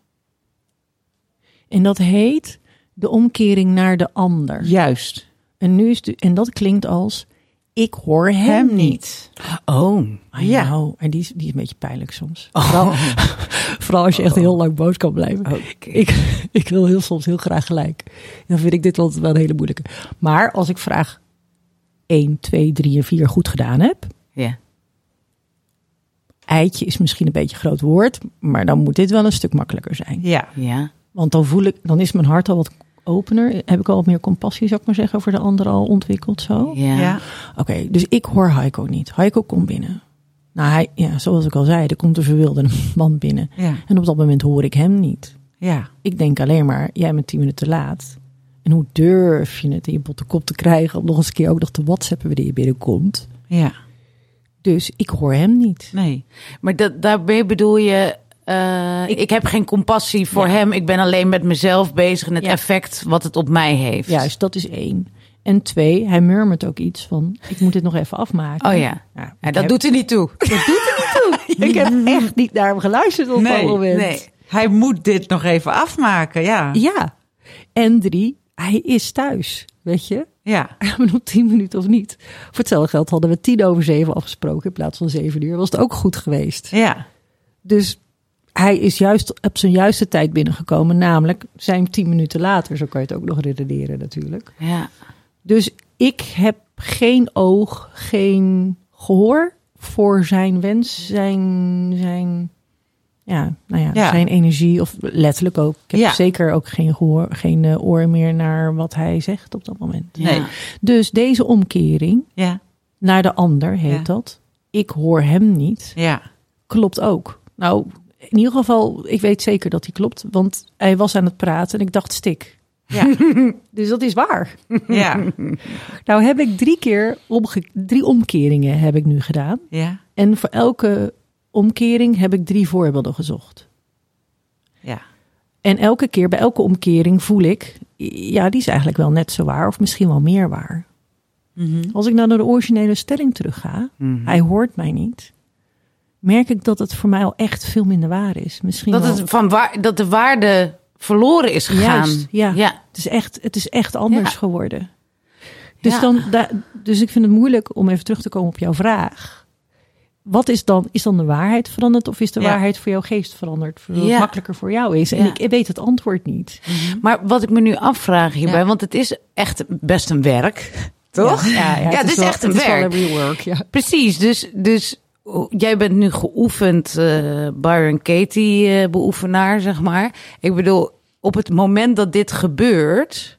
Speaker 3: En dat heet de omkering naar de ander.
Speaker 1: Juist.
Speaker 3: En, nu is de, en dat klinkt als: ik hoor hem,
Speaker 1: Hem niet.
Speaker 3: niet.
Speaker 2: Oh.
Speaker 3: Ja. Oh. En die is, die is een beetje pijnlijk soms. Vooral, vooral als je echt heel lang boos kan blijven. Ik, ik wil heel soms heel graag gelijk. Dan vind ik dit wel, wel een hele moeilijke. Maar als ik vraag 1, 2, 3 en 4 goed gedaan heb.
Speaker 2: Ja.
Speaker 3: Eitje is misschien een beetje een groot woord. Maar dan moet dit wel een stuk makkelijker zijn.
Speaker 1: Ja.
Speaker 2: Ja.
Speaker 3: Want dan voel ik, dan is mijn hart al wat opener. Heb ik al wat meer compassie, zou ik maar zeggen, voor de ander al ontwikkeld zo.
Speaker 2: Ja.
Speaker 1: Ja.
Speaker 3: Oké, dus ik hoor Heiko niet. Heiko komt binnen. Nou, hij, ja, zoals ik al zei, er komt een verwilderde man binnen.
Speaker 1: Ja.
Speaker 3: En op dat moment hoor ik hem niet.
Speaker 1: Ja.
Speaker 3: Ik denk alleen maar, jij bent tien minuten te laat. En hoe durf je het in je botte kop te krijgen om nog eens een keer ook nog te whatsappen wanneer je binnenkomt.
Speaker 1: Ja.
Speaker 3: Dus ik hoor hem niet.
Speaker 1: Nee.
Speaker 2: Maar dat, daarmee bedoel je, eh, ik, heb geen compassie voor hem. Ik ben alleen met mezelf bezig en het
Speaker 3: Ja.
Speaker 2: effect wat het op mij heeft.
Speaker 3: Juist, dat is één. En twee, hij murmurt ook iets van, ik moet dit nog even afmaken.
Speaker 2: Oh ja.
Speaker 3: Ja,
Speaker 2: Ja,
Speaker 3: ik
Speaker 2: dat
Speaker 3: heb-
Speaker 2: doet er niet toe.
Speaker 3: Ik heb echt niet naar hem geluisterd op dat moment.
Speaker 1: Hij moet dit nog even afmaken. Ja.
Speaker 3: Ja. En drie, hij is thuis, weet je.
Speaker 1: Ja.
Speaker 3: maar nog tien minuten of niet. Voor hetzelfde geld hadden we tien over zeven afgesproken in plaats van zeven uur. Was het ook goed geweest.
Speaker 1: Ja.
Speaker 3: Dus hij is juist op zijn juiste tijd binnengekomen. Namelijk zijn tien minuten later. Zo kan je het ook nog redeneren natuurlijk.
Speaker 2: Ja.
Speaker 3: Dus ik heb geen oog, geen gehoor voor zijn wens, zijn... zijn ja, nou ja,
Speaker 1: Ja.
Speaker 3: zijn energie of letterlijk ook. Ik heb
Speaker 1: Ja.
Speaker 3: zeker ook geen gehoor, geen eh, oor meer naar wat hij zegt op dat moment.
Speaker 2: Ja.
Speaker 1: Nee.
Speaker 3: Dus deze omkering
Speaker 1: Ja.
Speaker 3: naar de ander heet
Speaker 1: Ja.
Speaker 3: dat. Ik hoor hem niet.
Speaker 1: Ja.
Speaker 3: Klopt ook. Nou, in ieder geval, ik weet zeker dat hij klopt, want hij was aan het praten en ik dacht stik.
Speaker 1: Ja.
Speaker 3: Dus dat is waar.
Speaker 1: Ja.
Speaker 3: Nou heb ik drie keer omge- drie omkeringen heb ik nu gedaan.
Speaker 1: Ja.
Speaker 3: En voor elke omkering heb ik drie voorbeelden gezocht.
Speaker 1: Ja.
Speaker 3: En elke keer, bij elke omkering voel ik, ja, die is eigenlijk wel net zo waar, of misschien wel meer waar.
Speaker 2: Mhm.
Speaker 3: Als ik nou naar de originele stelling terugga, hij hoort mij niet, merk ik dat het voor mij al echt veel minder waar is. Misschien
Speaker 2: Dat,
Speaker 3: wel-
Speaker 2: het van waar, dat de waarde verloren is gegaan.
Speaker 3: Juist, ja.
Speaker 2: ja.
Speaker 3: Het, is echt, het is echt anders
Speaker 2: Ja.
Speaker 3: geworden. Dus,
Speaker 2: Ja.
Speaker 3: dan, da- dus ik vind het moeilijk om even terug te komen op jouw vraag. Wat is dan, is dan de waarheid veranderd of is de
Speaker 1: Ja.
Speaker 3: waarheid voor jouw geest veranderd? Zodat
Speaker 2: Ja.
Speaker 3: het makkelijker voor jou is. En
Speaker 2: Ja.
Speaker 3: ik weet het antwoord niet.
Speaker 2: Maar wat ik me nu afvraag hierbij, want het is echt best een werk. Toch? Ja,
Speaker 3: ja,
Speaker 2: het, is,
Speaker 3: wel-
Speaker 2: echt een
Speaker 3: het is wel
Speaker 2: werk.
Speaker 3: rework, ja.
Speaker 2: Precies, dus, dus oh, jij bent nu geoefend eh Byron Katie eh, beoefenaar, zeg maar. Ik bedoel, op het moment dat dit gebeurt,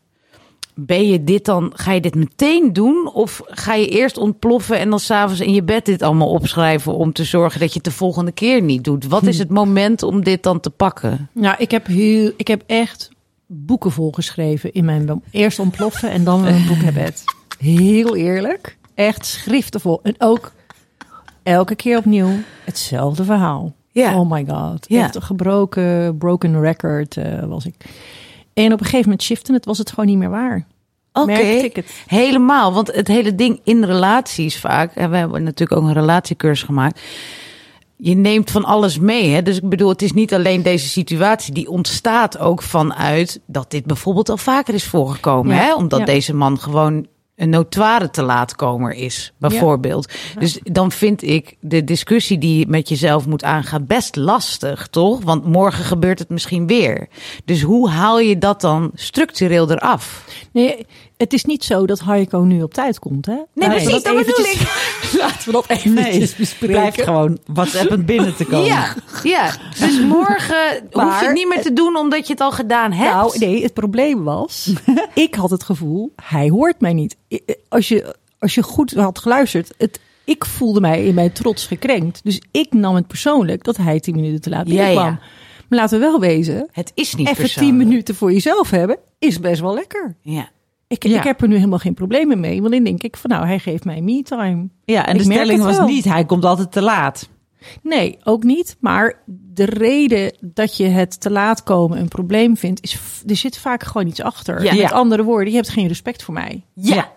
Speaker 2: ben je dit dan, ga je dit meteen doen? Of ga je eerst ontploffen en dan s'avonds in je bed dit allemaal opschrijven om te zorgen dat je het de volgende keer niet doet? Wat is het moment om dit dan te pakken?
Speaker 3: Nou, ik heb, heel, ik heb echt boeken volgeschreven in mijn eerst ontploffen en dan een boek naar bed. Heel eerlijk. Echt schriftenvol. En ook elke keer opnieuw hetzelfde verhaal.
Speaker 2: Ja.
Speaker 3: Oh my god.
Speaker 2: Ja.
Speaker 3: Echt een gebroken, broken record eh, was ik. En op een gegeven moment shiften het, was het gewoon niet meer waar.
Speaker 2: Oké.
Speaker 3: Merkte ik het.
Speaker 2: Helemaal, want het hele ding in relaties vaak, en we hebben natuurlijk ook een relatiecursus gemaakt. Je neemt van alles mee. Hè? Dus ik bedoel, het is niet alleen deze situatie. Die ontstaat ook vanuit dat dit bijvoorbeeld al vaker is voorgekomen.
Speaker 3: Ja,
Speaker 2: Hè? Omdat
Speaker 3: ja.
Speaker 2: deze man gewoon een notoire te laatkomer is, bijvoorbeeld. Dus dan vind ik de discussie die je met jezelf moet aangaan best lastig, toch? Want morgen gebeurt het misschien weer. Dus hoe haal je dat dan structureel eraf?
Speaker 3: Nee, het is niet zo dat Heiko nu op tijd komt, hè?
Speaker 2: Nee,
Speaker 3: Laten we
Speaker 2: precies, dat bedoel
Speaker 3: eventjes- Laten we dat even bespreken.
Speaker 1: blijft gewoon WhatsAppend binnen te komen.
Speaker 2: Ja, ja, dus morgen hoef je
Speaker 3: Maar-
Speaker 2: het niet meer te doen omdat je het al gedaan hebt.
Speaker 3: Nou, nee, het probleem was, ik had het gevoel, hij hoort mij niet. I- eh, Als je, als je goed had geluisterd, het, ik voelde mij in mijn trots gekrenkt. Dus ik nam het persoonlijk dat hij tien minuten te laat
Speaker 2: Ja, ja.
Speaker 3: binnenkwam. Maar laten we wel wezen,
Speaker 2: Het is niet
Speaker 3: even tien
Speaker 2: persoonlijk.
Speaker 3: minuten voor jezelf hebben is best wel lekker.
Speaker 2: Ja.
Speaker 3: Ik,
Speaker 1: Ja.
Speaker 3: ik heb er nu helemaal geen problemen mee, want dan denk ik van nou, hij geeft mij me-time.
Speaker 1: Ja, en
Speaker 3: Ik
Speaker 1: de
Speaker 3: merk
Speaker 1: stelling
Speaker 3: het
Speaker 1: was
Speaker 3: wel.
Speaker 1: niet, hij komt altijd te laat.
Speaker 3: Nee, ook niet. Maar de reden dat je het te laat komen een probleem vindt, is f- er zit vaak gewoon iets achter.
Speaker 2: Ja.
Speaker 3: Met
Speaker 1: Ja.
Speaker 3: andere woorden, je hebt geen respect voor mij.
Speaker 2: Ja.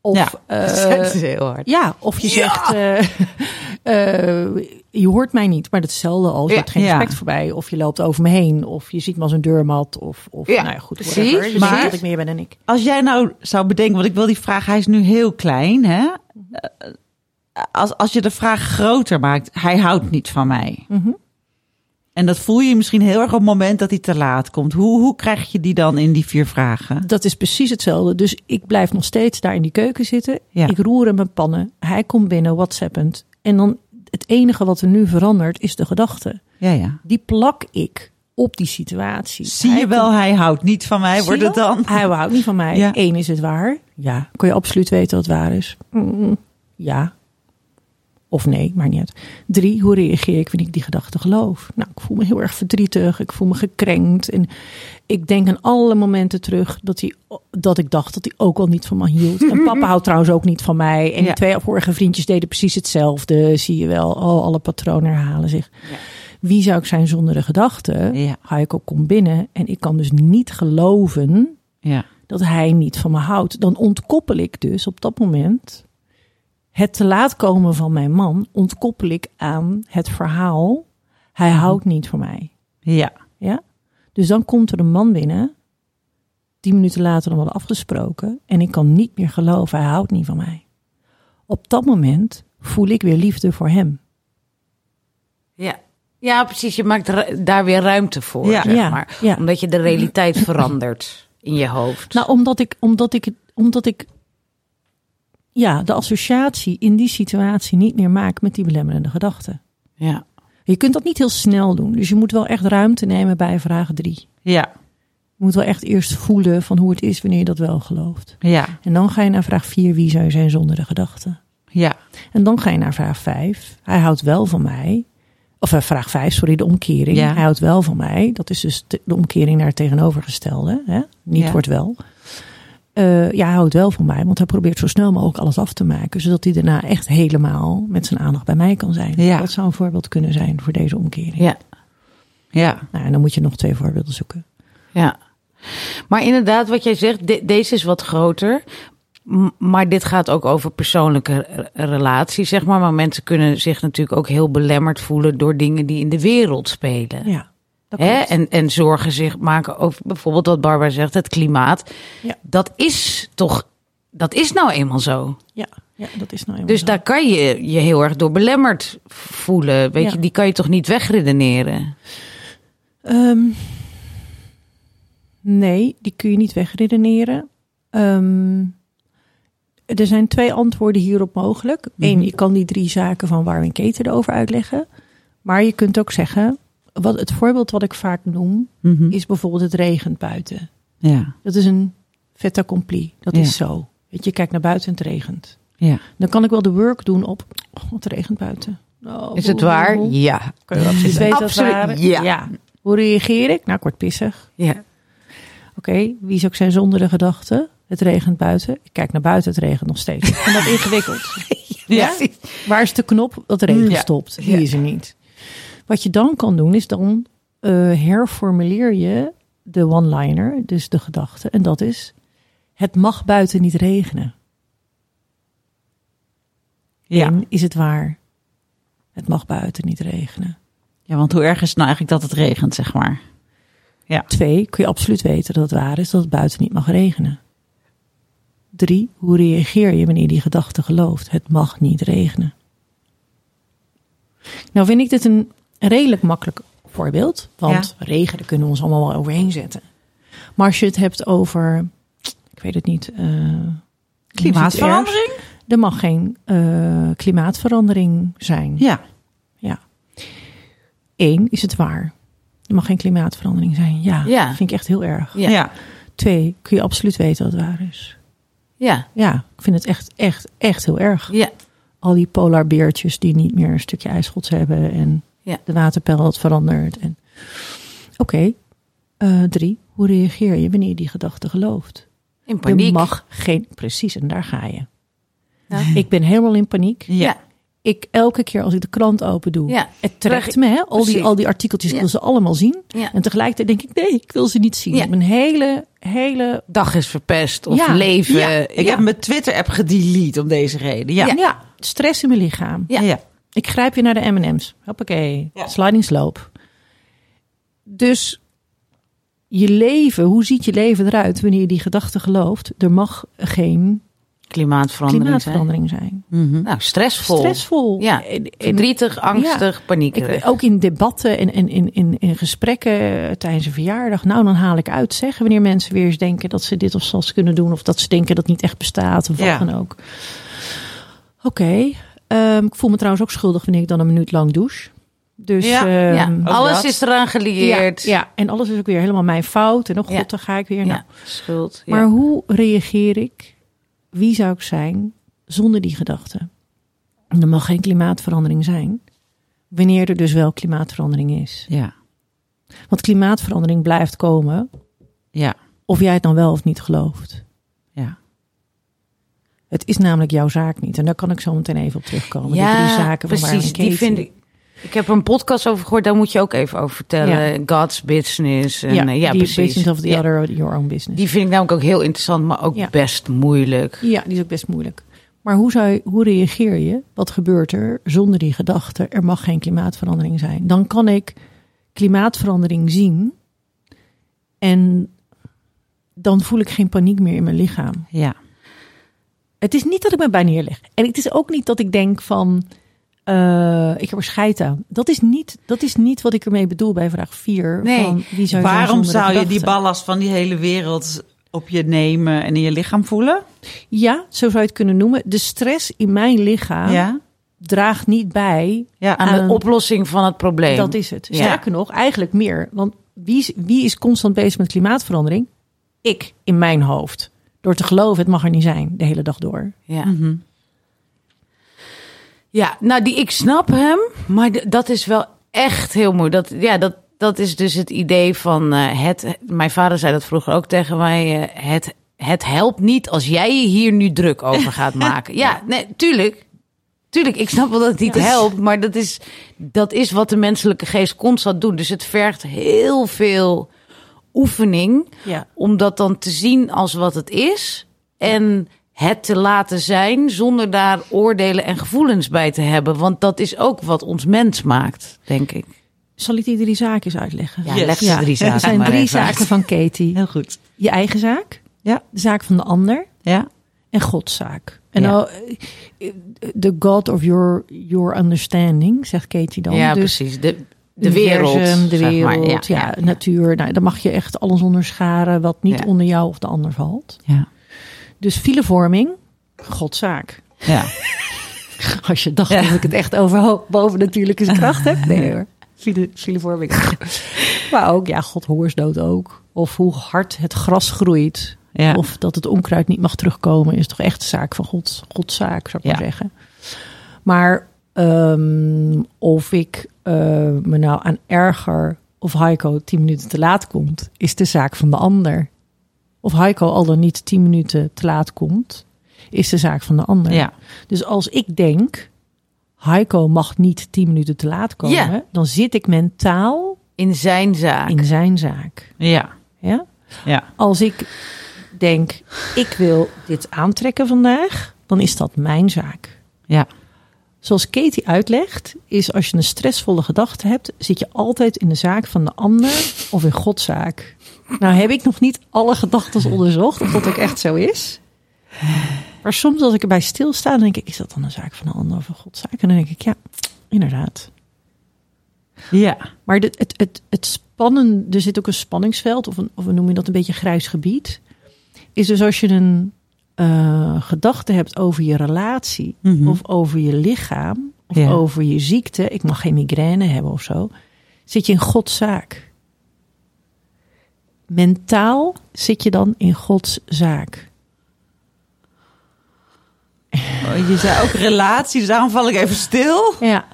Speaker 3: Of,
Speaker 1: Ja.
Speaker 3: eh,
Speaker 2: is heel hard.
Speaker 3: ja, of je zegt, eh, eh, je hoort mij niet. Maar dat is hetzelfde als je
Speaker 2: Ja.
Speaker 3: hebt geen
Speaker 1: Ja.
Speaker 3: respect voor mij. Of je loopt over me heen. Of je ziet me als een deurmat. Of, of
Speaker 2: Ja,
Speaker 3: nou ja, goed,
Speaker 2: precies,
Speaker 3: whatever. Je ziet
Speaker 1: maar-
Speaker 3: dat ik meer ben dan ik.
Speaker 1: Als jij nou zou bedenken, want ik wil die vraag, hij is nu heel klein, hè? Eh, Als, als je de vraag groter maakt, hij houdt niet van mij. En dat voel je misschien heel erg op het moment dat hij te laat komt. Hoe, hoe krijg je die dan in die vier vragen?
Speaker 3: Dat is precies hetzelfde. Dus ik blijf nog steeds daar in die keuken zitten.
Speaker 1: Ja.
Speaker 3: Ik roer in mijn pannen. Hij komt binnen, whatsappend. En dan het enige wat er nu verandert is de gedachte.
Speaker 1: Ja, ja.
Speaker 3: Die plak ik op die situatie.
Speaker 1: Zie
Speaker 3: Hij
Speaker 1: je wel, hij houdt niet van mij,
Speaker 3: Zie
Speaker 1: wordt
Speaker 3: je
Speaker 1: het
Speaker 3: wel?
Speaker 1: dan?
Speaker 3: Hij houdt niet van mij.
Speaker 1: Ja.
Speaker 3: Eén is het waar. Ja. Kun je absoluut weten dat het waar is? Mm, ja. Of nee, maar niet uit. Drie, hoe reageer ik wanneer ik die gedachte geloof? Nou, ik voel me heel erg verdrietig. Ik voel me gekrenkt. En ik denk aan alle momenten terug dat, hij, dat ik dacht dat hij ook al niet van me hield. En papa houdt trouwens ook niet van mij. En
Speaker 1: Ja.
Speaker 3: die twee vorige vriendjes deden precies hetzelfde. Zie je wel. Oh, alle patronen herhalen zich. Wie zou ik zijn zonder de gedachte?
Speaker 1: Ja.
Speaker 3: Heiko komt binnen en ik kan dus niet geloven
Speaker 1: Ja.
Speaker 3: dat hij niet van me houdt. Dan ontkoppel ik dus op dat moment het te laat komen van mijn man, ontkoppel ik aan het verhaal, hij houdt niet van mij.
Speaker 1: Ja.
Speaker 3: Ja? Dus dan komt er een man binnen, tien minuten later dan hadden afgesproken, en ik kan niet meer geloven, hij houdt niet van mij. Op dat moment voel ik weer liefde voor hem.
Speaker 2: Ja. Ja, precies. Je maakt ru- daar weer ruimte voor,
Speaker 1: Ja.
Speaker 2: zeg
Speaker 3: Ja,
Speaker 2: maar.
Speaker 3: ja.
Speaker 2: Omdat je de realiteit verandert in je hoofd.
Speaker 3: Nou, omdat ik, omdat ik, omdat ik ja, de associatie in die situatie niet meer maak met die belemmerende gedachten.
Speaker 2: ja.
Speaker 3: Je kunt dat niet heel snel doen. Dus je moet wel echt ruimte nemen bij vraag drie.
Speaker 1: Ja.
Speaker 3: Je moet wel echt eerst voelen van hoe het is wanneer je dat wel gelooft.
Speaker 1: Ja.
Speaker 3: En dan ga je naar vraag vier, wie zou je zijn zonder de gedachten?
Speaker 1: Ja.
Speaker 3: En dan ga je naar vraag 5. Hij houdt wel van mij. Of eh, vraag 5, sorry, de omkering.
Speaker 1: Ja.
Speaker 3: Hij houdt wel van mij. Dat is dus te- de omkering naar het tegenovergestelde. Hè? Niet
Speaker 1: Ja.
Speaker 3: wordt wel. Eh, ja, hij houdt wel van mij, want hij probeert zo snel mogelijk alles af te maken. Zodat hij daarna echt helemaal met zijn aandacht bij mij kan zijn.
Speaker 1: Ja.
Speaker 3: Dat zou een voorbeeld kunnen zijn voor deze omkering.
Speaker 2: Ja.
Speaker 1: Ja.
Speaker 3: Nou, en dan moet je nog twee voorbeelden zoeken.
Speaker 2: Ja. Maar inderdaad, wat jij zegt, de- deze is wat groter. M- Maar dit gaat ook over persoonlijke re- relaties, zeg maar. Maar mensen kunnen zich natuurlijk ook heel belemmerd voelen door dingen die in de wereld spelen.
Speaker 3: Ja, dat
Speaker 2: Hè?
Speaker 3: klopt.
Speaker 2: En, en zorgen zich maken over bijvoorbeeld wat Barbara zegt, het klimaat.
Speaker 3: Ja.
Speaker 2: Dat is toch, dat is nou eenmaal zo.
Speaker 3: Ja, ja, dat is nou eenmaal
Speaker 2: Dus
Speaker 3: zo.
Speaker 2: daar kan je je heel erg door belemmerd voelen. Weet
Speaker 3: Ja.
Speaker 2: je, die kan je toch niet wegredeneren?
Speaker 3: Ehm, nee, die kun je niet wegredeneren. Ehm, er zijn twee antwoorden hierop Mhm. mogelijk. Eén, je kan die drie zaken van Warwin Keten erover uitleggen. Maar je kunt ook zeggen, wat, het voorbeeld wat ik vaak noem,
Speaker 1: Mhm.
Speaker 3: is bijvoorbeeld het regent buiten.
Speaker 1: Ja,
Speaker 3: Dat is een fait accompli. Dat
Speaker 1: Ja.
Speaker 3: is zo. Weet je, je kijkt naar buiten en het regent.
Speaker 1: ja.
Speaker 3: Dan kan ik wel de work doen op, oh, het regent buiten. Oh,
Speaker 2: Is het waar?
Speaker 3: hoe-
Speaker 2: Ja.
Speaker 3: Kan je wel precies weten dat
Speaker 2: Absoluut,
Speaker 3: waar?
Speaker 2: ja.
Speaker 3: Hoe reageer ik? Nou, ik word pissig.
Speaker 2: ja.
Speaker 3: Oké, wie is ook zijn zonder de gedachte? Het regent buiten. Ik kijk naar buiten, het regent nog steeds. Ik vind dat ingewikkeld.
Speaker 2: Ja.
Speaker 3: Waar is de knop dat de regen
Speaker 2: Ja.
Speaker 3: stopt? Die
Speaker 2: Ja.
Speaker 3: is er niet. Wat je dan kan doen, is dan eh, herformuleer je de one-liner, dus de gedachte. En dat is, het mag buiten niet regenen.
Speaker 1: Ja.
Speaker 3: En is het waar? Het mag buiten niet regenen.
Speaker 1: ja, want hoe erg is het nou eigenlijk dat het regent, zeg maar?
Speaker 3: Twee, kun je absoluut weten dat het waar is dat het buiten niet mag regenen. Drie, hoe reageer je wanneer je die gedachte gelooft? Het mag niet regenen. Nou vind ik dit een redelijk makkelijk voorbeeld. Want regen, daar kunnen we ons allemaal wel overheen zetten. Maar als je het hebt over, ik weet het niet... eh, iets
Speaker 1: Klimaatverandering?
Speaker 3: ergs, Er mag geen eh, klimaatverandering zijn.
Speaker 1: Ja.
Speaker 3: Ja. Eén, is het waar? Er mag geen klimaatverandering zijn. Ja,
Speaker 2: Ja.
Speaker 3: vind ik echt heel erg.
Speaker 2: Ja.
Speaker 1: ja.
Speaker 3: Twee, kun je absoluut weten dat het waar is.
Speaker 2: Ja.
Speaker 3: Ja, ik vind het echt, echt, echt heel erg.
Speaker 2: Ja.
Speaker 3: Al die polarbeertjes die niet meer een stukje ijsschots hebben en
Speaker 2: Ja.
Speaker 3: de waterpeil had veranderd. En... Oké, Eh, drie, hoe reageer je wanneer je die gedachte gelooft?
Speaker 2: In paniek.
Speaker 3: Er mag geen, precies, en daar ga je.
Speaker 2: Ja.
Speaker 3: Ik ben helemaal in paniek.
Speaker 1: Ja.
Speaker 3: Ik elke keer als ik de krant open doe,
Speaker 2: Ja.
Speaker 3: het trekt me. Hè? Al,
Speaker 2: Precies.
Speaker 3: die, al die artikeltjes ik
Speaker 2: Ja.
Speaker 3: wil ze allemaal zien.
Speaker 2: Ja.
Speaker 3: En tegelijkertijd denk ik, nee, ik wil ze niet zien.
Speaker 2: Ja.
Speaker 3: Ik heb een hele, hele
Speaker 2: Dag is verpest. Of
Speaker 3: Ja.
Speaker 2: leven.
Speaker 1: Ja, ik heb mijn Twitter-app gedelete om deze reden. Ja.
Speaker 3: ja. stress in mijn lichaam.
Speaker 2: Ja.
Speaker 1: ja.
Speaker 3: Ik grijp je naar de M&M's. Hoppakee,
Speaker 1: Ja.
Speaker 3: sliding slope. Dus je leven, hoe ziet je leven eruit wanneer je die gedachte gelooft? Er mag geen
Speaker 2: Klimaatverandering.
Speaker 3: klimaatverandering zijn.
Speaker 2: Zijn. Nou, stressvol.
Speaker 3: Stressvol.
Speaker 2: Ja.
Speaker 3: En- en-
Speaker 2: Verdrietig, angstig, paniekerig.
Speaker 3: Ik, ook in debatten en, en in, in, in gesprekken tijdens een verjaardag. Nou, dan haal ik uit zeggen wanneer mensen weer eens denken dat ze dit of dat kunnen doen. Of dat ze denken dat het niet echt bestaat of wat
Speaker 1: Ja.
Speaker 3: dan ook. Oké. ehm, ik voel me trouwens ook schuldig wanneer ik dan een minuut lang douche. Dus
Speaker 2: ja.
Speaker 3: ehm,
Speaker 2: ja.
Speaker 1: ook
Speaker 2: Alles
Speaker 1: dat.
Speaker 2: is eraan
Speaker 3: ja,
Speaker 2: gelieerd.
Speaker 3: ja, en alles is ook weer helemaal mijn fout. En oh god,
Speaker 2: Ja.
Speaker 3: dan ga ik weer.
Speaker 2: Ja.
Speaker 3: Nou,
Speaker 2: Schuld. Ja.
Speaker 3: maar hoe reageer ik? Wie zou ik zijn zonder die gedachte? En Er mag geen klimaatverandering zijn. Wanneer er dus wel klimaatverandering is.
Speaker 1: Ja.
Speaker 3: Want klimaatverandering blijft komen.
Speaker 1: Ja.
Speaker 3: Of jij het dan wel of niet gelooft.
Speaker 1: Ja.
Speaker 3: Het is namelijk jouw zaak niet. En daar kan ik zo meteen even op terugkomen. die drie zaken van
Speaker 2: precies. die
Speaker 3: Warren Katie.
Speaker 2: vind ik. Ik heb er een podcast over gehoord, daar moet je ook even over vertellen. God's business. En,
Speaker 3: Ja,
Speaker 2: eh, ja
Speaker 3: die
Speaker 2: precies.
Speaker 3: business of the
Speaker 2: Ja.
Speaker 3: other, your own business.
Speaker 2: Die vind ik namelijk ook heel interessant, maar ook
Speaker 3: Ja.
Speaker 2: best moeilijk.
Speaker 3: Ja, die is ook best moeilijk. Maar hoe, zou je, hoe reageer je? Wat gebeurt er zonder die gedachte? Er mag geen klimaatverandering zijn. Dan kan ik klimaatverandering zien. En dan voel ik geen paniek meer in mijn lichaam.
Speaker 1: Ja.
Speaker 3: Het is niet dat ik me bij neerleg. En het is ook niet dat ik denk van... eh, ik heb er scheid aan. Dat is, niet, dat is niet wat ik ermee bedoel bij vraag 4.
Speaker 1: Nee,
Speaker 3: van wie zou je zijn
Speaker 1: Waarom
Speaker 3: zonder de
Speaker 1: zou je die
Speaker 3: gedachte?
Speaker 1: ballast van die hele wereld op je nemen en in je lichaam voelen?
Speaker 3: Ja, zo zou je het kunnen noemen. De stress in mijn lichaam
Speaker 1: Ja.
Speaker 3: draagt niet bij
Speaker 1: Ja. Ah.
Speaker 2: Aan
Speaker 3: Aan-
Speaker 2: de oplossing van het probleem.
Speaker 3: Dat is het.
Speaker 2: Ja.
Speaker 3: Sterker nog, eigenlijk meer. Want wie is, wie is constant bezig met klimaatverandering? Ik in mijn hoofd. Door te geloven, het mag er niet zijn, de hele dag door.
Speaker 2: Ja. Mhm. ja, nou die ik snap hem, maar d- dat is wel echt heel moeilijk. Dat, ja, dat, dat is dus het idee van eh, het. Mijn vader zei dat vroeger ook tegen mij. eh, het, het helpt niet als jij je hier nu druk over gaat maken. ja, nee, tuurlijk. Tuurlijk, ik snap wel dat het niet helpt, maar dat is, dat is wat de menselijke geest constant doet. Dus het vergt heel veel oefening
Speaker 3: Ja.
Speaker 2: om dat dan te zien als wat het is en het te laten zijn zonder daar oordelen en gevoelens bij te hebben. Want dat is ook wat ons mens maakt, denk ik.
Speaker 3: Zal ik die drie zaakjes uitleggen?
Speaker 2: Ja,
Speaker 1: Yes.
Speaker 2: leg ze
Speaker 1: Ja,
Speaker 2: drie
Speaker 1: er
Speaker 2: zaken
Speaker 3: Er zijn
Speaker 2: maar
Speaker 3: drie
Speaker 2: even uit.
Speaker 3: zaken van Katie.
Speaker 1: Heel goed.
Speaker 3: Je eigen zaak,
Speaker 1: Ja.
Speaker 3: de zaak van de ander
Speaker 1: Ja.
Speaker 3: en Gods zaak. En
Speaker 1: Ja.
Speaker 3: nou, eh, de God of your, your understanding, zegt Katie dan.
Speaker 2: Ja,
Speaker 3: Dus
Speaker 2: precies. De, de wereld.
Speaker 3: universum, de
Speaker 2: zeg maar.
Speaker 3: wereld, ja, natuur. Nou, dan mag je echt alles onderscharen wat niet
Speaker 2: Ja.
Speaker 3: onder jou of de ander valt.
Speaker 1: Ja.
Speaker 3: Dus filevorming, godzaak.
Speaker 1: Ja.
Speaker 3: Als je dacht dat ik het echt over ho- bovennatuurlijke kracht heb. Nee hoor. ziele- zielevorming. maar ook, ja, god, hongersdood ook. Of hoe hard het gras groeit.
Speaker 1: Ja.
Speaker 3: Of dat het onkruid niet mag terugkomen, is toch echt de zaak van God, Gods zaak, zou
Speaker 1: Ja.
Speaker 3: ik maar zeggen. Maar ehm, of ik eh, me nou aan erger of Heiko tien minuten te laat komt, is de zaak van de ander. Of Heiko al dan niet tien minuten te laat komt, is de zaak van de ander.
Speaker 1: Ja.
Speaker 3: Dus als ik denk, Heiko mag niet tien minuten te laat komen,
Speaker 2: Ja.
Speaker 3: dan zit ik mentaal
Speaker 2: In zijn zaak.
Speaker 3: in zijn zaak.
Speaker 1: Ja.
Speaker 3: Ja?
Speaker 1: Ja.
Speaker 3: Als ik denk, ik wil dit aantrekken vandaag, dan is dat mijn zaak.
Speaker 1: Ja.
Speaker 3: Zoals Katie uitlegt, is als je een stressvolle gedachte hebt, zit je altijd in de zaak van de ander of in Gods zaak. Nou heb ik nog niet alle gedachten onderzocht of dat ook echt zo is. Maar soms als ik erbij stilsta, dan denk ik, is dat dan een zaak van de ander of een Gods zaak? En dan denk ik, ja, inderdaad.
Speaker 1: Ja.
Speaker 3: Maar dit- het, het, het spannen, er zit ook een spanningsveld, of, een, of we noemen dat een beetje grijs gebied. Is dus als je een eh, gedachte hebt over je relatie,
Speaker 1: Mhm.
Speaker 3: of over je lichaam, of
Speaker 1: Ja.
Speaker 3: over je ziekte, ik mag geen migraine hebben of zo, zit je in Gods zaak. Mentaal zit je dan in Gods zaak.
Speaker 1: Oh, je zei ook relaties, dus daarom val ik even stil.
Speaker 3: Ja,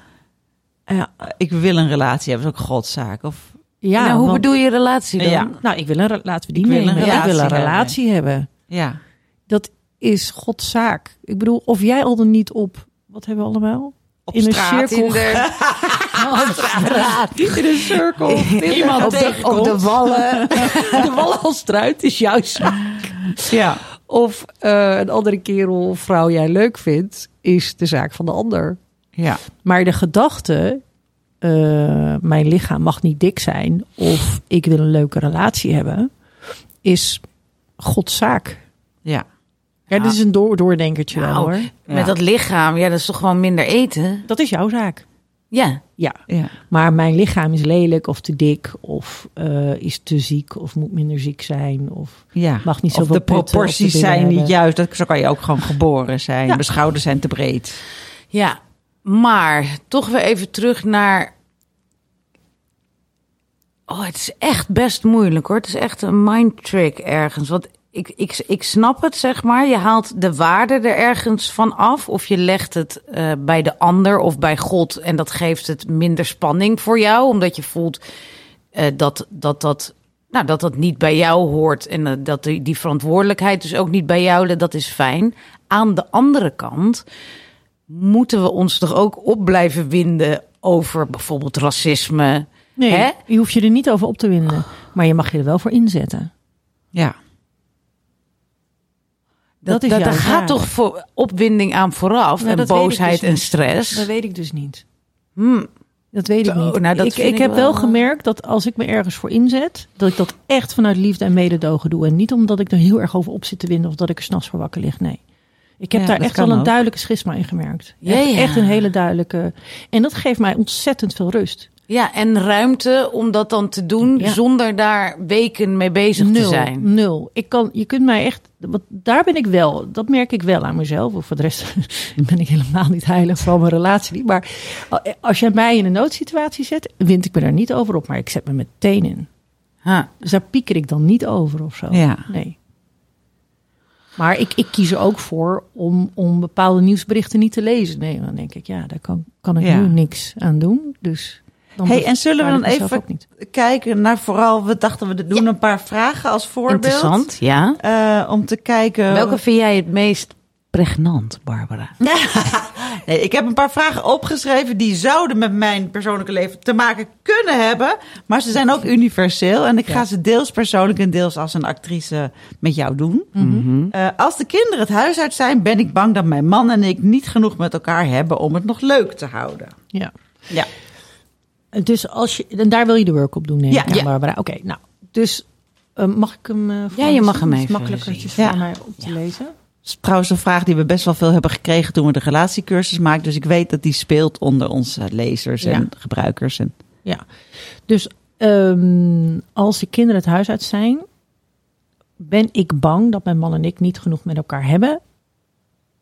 Speaker 1: Ja, ik wil een relatie hebben, dat is ook godszaak. Of,
Speaker 3: Eh, ja
Speaker 2: nou, hoe
Speaker 3: want-
Speaker 2: bedoel je relatie dan?
Speaker 1: Ja.
Speaker 3: Nou, ik wil een, re- laten we die
Speaker 1: Ik wil een
Speaker 3: nemen. ik wil een
Speaker 1: relatie
Speaker 3: relatie hebben.
Speaker 1: ja.
Speaker 3: dat is Gods zaak. Ik bedoel, of jij al dan niet op, wat hebben we allemaal?
Speaker 1: Op
Speaker 3: In een
Speaker 1: straat,
Speaker 3: cirkel.
Speaker 1: in de- in een cirkel.
Speaker 3: Iemand
Speaker 1: Iemand
Speaker 3: op de, op de wallen. de wallen als struit is jouw zaak.
Speaker 1: Ja.
Speaker 3: Of eh, een andere kerel of vrouw jij leuk vindt, is de zaak van de ander.
Speaker 1: Ja.
Speaker 3: Maar de gedachte, eh, mijn lichaam mag niet dik zijn of ik wil een leuke relatie hebben, is Gods zaak.
Speaker 1: Ja.
Speaker 3: Ja, dit is een door doordenkertje wel,
Speaker 2: Nou,
Speaker 3: hoor.
Speaker 2: met
Speaker 1: Ja.
Speaker 2: dat lichaam, ja, dat is toch gewoon minder eten?
Speaker 3: Dat is jouw zaak.
Speaker 2: Ja.
Speaker 3: Ja.
Speaker 1: Ja.
Speaker 3: Maar mijn lichaam is lelijk of te dik of eh, is te ziek of moet minder ziek zijn. Of...
Speaker 1: Ja.
Speaker 3: Mag niet
Speaker 1: of
Speaker 3: zoveel
Speaker 1: de
Speaker 3: putten op de
Speaker 1: proporties
Speaker 3: billen
Speaker 1: zijn niet
Speaker 3: hebben.
Speaker 1: juist. Dat, zo kan je ook gewoon geboren zijn. De schouders zijn te breed.
Speaker 2: Ja. Maar toch weer even terug naar... Oh, het is echt best moeilijk hoor. Het is echt een mindtrick ergens. Want ik, ik, ik snap het, zeg maar. Je haalt de waarde er ergens van af. Of je legt het eh, bij de ander of bij God. En dat geeft het minder spanning voor jou. Omdat je voelt eh, dat, dat, dat, nou, dat dat niet bij jou hoort. En eh, dat die, die verantwoordelijkheid dus ook niet bij jou ligt. Dat is fijn. Aan de andere kant moeten we ons toch ook op blijven winden over bijvoorbeeld racisme. Hè?
Speaker 3: je hoeft je er niet over op te
Speaker 1: Ah.
Speaker 3: winden. Maar je mag je er wel voor inzetten.
Speaker 1: Ja.
Speaker 3: Dat is jouw
Speaker 2: daar
Speaker 3: zaak.
Speaker 2: gaat toch voor opwinding aan vooraf.
Speaker 3: Nou,
Speaker 2: en
Speaker 3: dat weet ik dus
Speaker 2: boosheid en
Speaker 3: niet.
Speaker 2: stress.
Speaker 3: Dat weet ik dus niet. Dat weet ik
Speaker 2: Zo,
Speaker 3: niet.
Speaker 2: nou, dat
Speaker 3: ik,
Speaker 2: vind
Speaker 3: ik
Speaker 2: ik
Speaker 3: heb wel
Speaker 2: wel-
Speaker 3: gemerkt dat als ik me ergens voor inzet, dat ik dat echt vanuit liefde en mededogen doe. En niet omdat ik er heel erg over op zit te winden of dat ik er s'nachts voor wakker lig. Nee. Ik heb
Speaker 1: Ja,
Speaker 3: daar
Speaker 1: dat
Speaker 3: echt
Speaker 1: kan
Speaker 3: wel een
Speaker 1: ook.
Speaker 3: duidelijke schisma in gemerkt.
Speaker 2: Ja,
Speaker 3: echt,
Speaker 2: ja.
Speaker 3: echt een hele duidelijke. En dat geeft mij ontzettend veel rust.
Speaker 2: Ja, en ruimte om dat dan te doen
Speaker 3: Ja.
Speaker 2: zonder daar weken mee bezig
Speaker 3: nul,
Speaker 2: te zijn.
Speaker 3: Nul. Ik kan, je kunt mij echt. Want daar ben ik wel. Dat merk ik wel aan mezelf. Of voor de rest ben ik helemaal niet heilig. Vooral mijn relatie niet. Maar als jij mij in een noodsituatie zet, wint ik me daar niet over op. Maar ik zet me meteen in.
Speaker 2: Ha.
Speaker 3: Dus daar pieker ik dan niet over of zo.
Speaker 1: Ja.
Speaker 3: Nee. Maar ik, ik kies er ook voor om, om bepaalde nieuwsberichten niet te lezen. Nee, dan denk ik, ja, daar kan, kan ik
Speaker 1: Ja.
Speaker 3: nu niks aan doen. Dus dan
Speaker 1: Hey, en zullen we
Speaker 3: bespaar ik
Speaker 1: dan
Speaker 3: mezelf
Speaker 1: even
Speaker 3: ook niet.
Speaker 1: kijken naar vooral... We dachten, we doen een paar vragen als voorbeeld.
Speaker 2: Interessant, ja.
Speaker 1: Eh, om te kijken...
Speaker 2: Welke vind jij het meest pregnant, Barbara?
Speaker 1: Nee, ik heb een paar vragen opgeschreven die zouden met mijn persoonlijke leven te maken kunnen hebben. Maar ze zijn ook universeel. En ik ga ze deels persoonlijk en deels als een actrice met jou doen. Eh, als de kinderen het huis uit zijn, ben ik bang dat mijn man en ik niet genoeg met elkaar hebben om het nog leuk te houden.
Speaker 3: Ja.
Speaker 1: Ja.
Speaker 3: Dus als je, en daar wil je de work op doen, neem ik
Speaker 1: Ja,
Speaker 3: aan,
Speaker 1: ja.
Speaker 3: Barbara. Oké, nou, dus eh, mag ik hem eh, voor
Speaker 2: Ja,
Speaker 3: me
Speaker 2: je mag
Speaker 3: zien?
Speaker 2: hem
Speaker 3: Het is
Speaker 2: even
Speaker 3: makkelijker
Speaker 2: zien.
Speaker 3: het is
Speaker 1: Ja.
Speaker 3: voor mij om te lezen.
Speaker 1: Dat is trouwens een vraag die we best wel veel hebben gekregen toen we de relatiecursus maakten. Dus ik weet dat die speelt onder onze lezers en
Speaker 3: Ja.
Speaker 1: gebruikers. En...
Speaker 3: Ja. Dus ehm, als de kinderen het huis uit zijn, ben ik bang dat mijn man en ik niet genoeg met elkaar hebben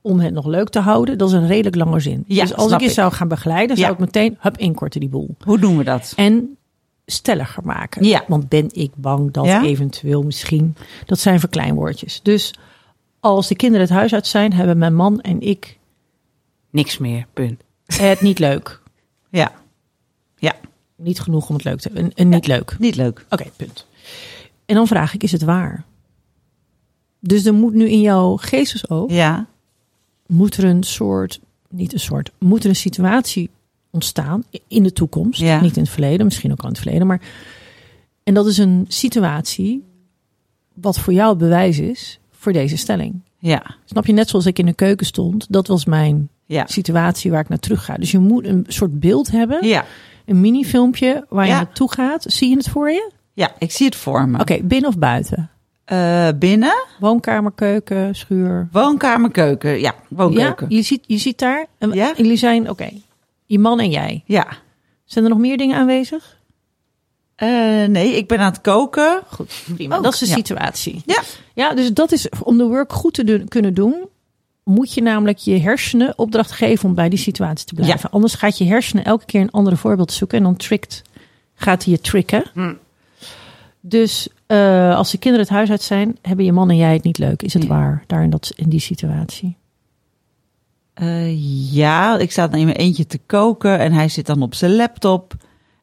Speaker 3: om het nog leuk te houden, dat is een redelijk lange zin.
Speaker 1: Ja,
Speaker 3: dus als
Speaker 1: snap
Speaker 3: ik je
Speaker 1: ik.
Speaker 3: zou gaan begeleiden, zou
Speaker 1: Ja.
Speaker 3: ik meteen hup inkorten die boel.
Speaker 1: Hoe doen we dat?
Speaker 3: En stelliger maken.
Speaker 1: Ja.
Speaker 3: Want ben ik bang dat
Speaker 1: Ja?
Speaker 3: eventueel misschien... Dat zijn verkleinwoordjes. Dus als de kinderen het huis uit zijn, hebben mijn man en ik
Speaker 2: Niks meer, punt.
Speaker 3: het niet leuk.
Speaker 1: Ja. Ja,
Speaker 3: Niet genoeg om het leuk te hebben. Een, een niet leuk.
Speaker 1: niet leuk.
Speaker 3: Oké, punt. En dan vraag ik, is het waar? Dus er moet nu in jouw geestesoog,
Speaker 1: Ja.
Speaker 3: moet er een soort, niet een soort, moet er een situatie ontstaan in de toekomst.
Speaker 1: Ja.
Speaker 3: Niet in het verleden, misschien ook al in het verleden. Maar, en dat is een situatie wat voor jou het bewijs is voor deze stelling.
Speaker 1: Ja.
Speaker 3: Snap je, net zoals ik in de keuken stond, dat was mijn
Speaker 1: Ja.
Speaker 3: situatie waar ik naar terug ga. Dus je moet een soort beeld hebben,
Speaker 1: Ja.
Speaker 3: een minifilmpje waar je
Speaker 1: Ja.
Speaker 3: naartoe gaat. Zie je het voor je?
Speaker 1: Ja, ik zie het voor me.
Speaker 3: Oké, binnen of buiten?
Speaker 1: Eh, binnen,
Speaker 3: Woonkamer, keuken, schuur.
Speaker 1: woonkamer, keuken. Ja, woonkeuken.
Speaker 3: Ja, je ziet, je ziet daar. En
Speaker 1: Ja.
Speaker 3: jullie zijn, oké, je man en jij.
Speaker 1: Ja.
Speaker 3: Zijn er nog meer dingen aanwezig?
Speaker 1: Eh, nee, ik ben aan het koken.
Speaker 3: Goed, prima.
Speaker 1: Ook,
Speaker 3: dat is de
Speaker 1: ja.
Speaker 3: situatie.
Speaker 1: Ja.
Speaker 3: Oh, Ja, dus dat is om de work goed te doen- kunnen doen, moet je namelijk je hersenen opdracht geven om bij die situatie te blijven.
Speaker 1: Ja.
Speaker 3: Anders gaat je hersenen elke keer een andere voorbeeld zoeken en dan trickt, gaat hij je tricken. Dus eh, als de kinderen het huis uit zijn, hebben je man en jij het niet leuk. Is het
Speaker 1: Ja.
Speaker 3: waar? Daar in, dat, in die situatie.
Speaker 1: Eh, ja, ik sta dan in mijn eentje te koken en hij zit dan op zijn laptop.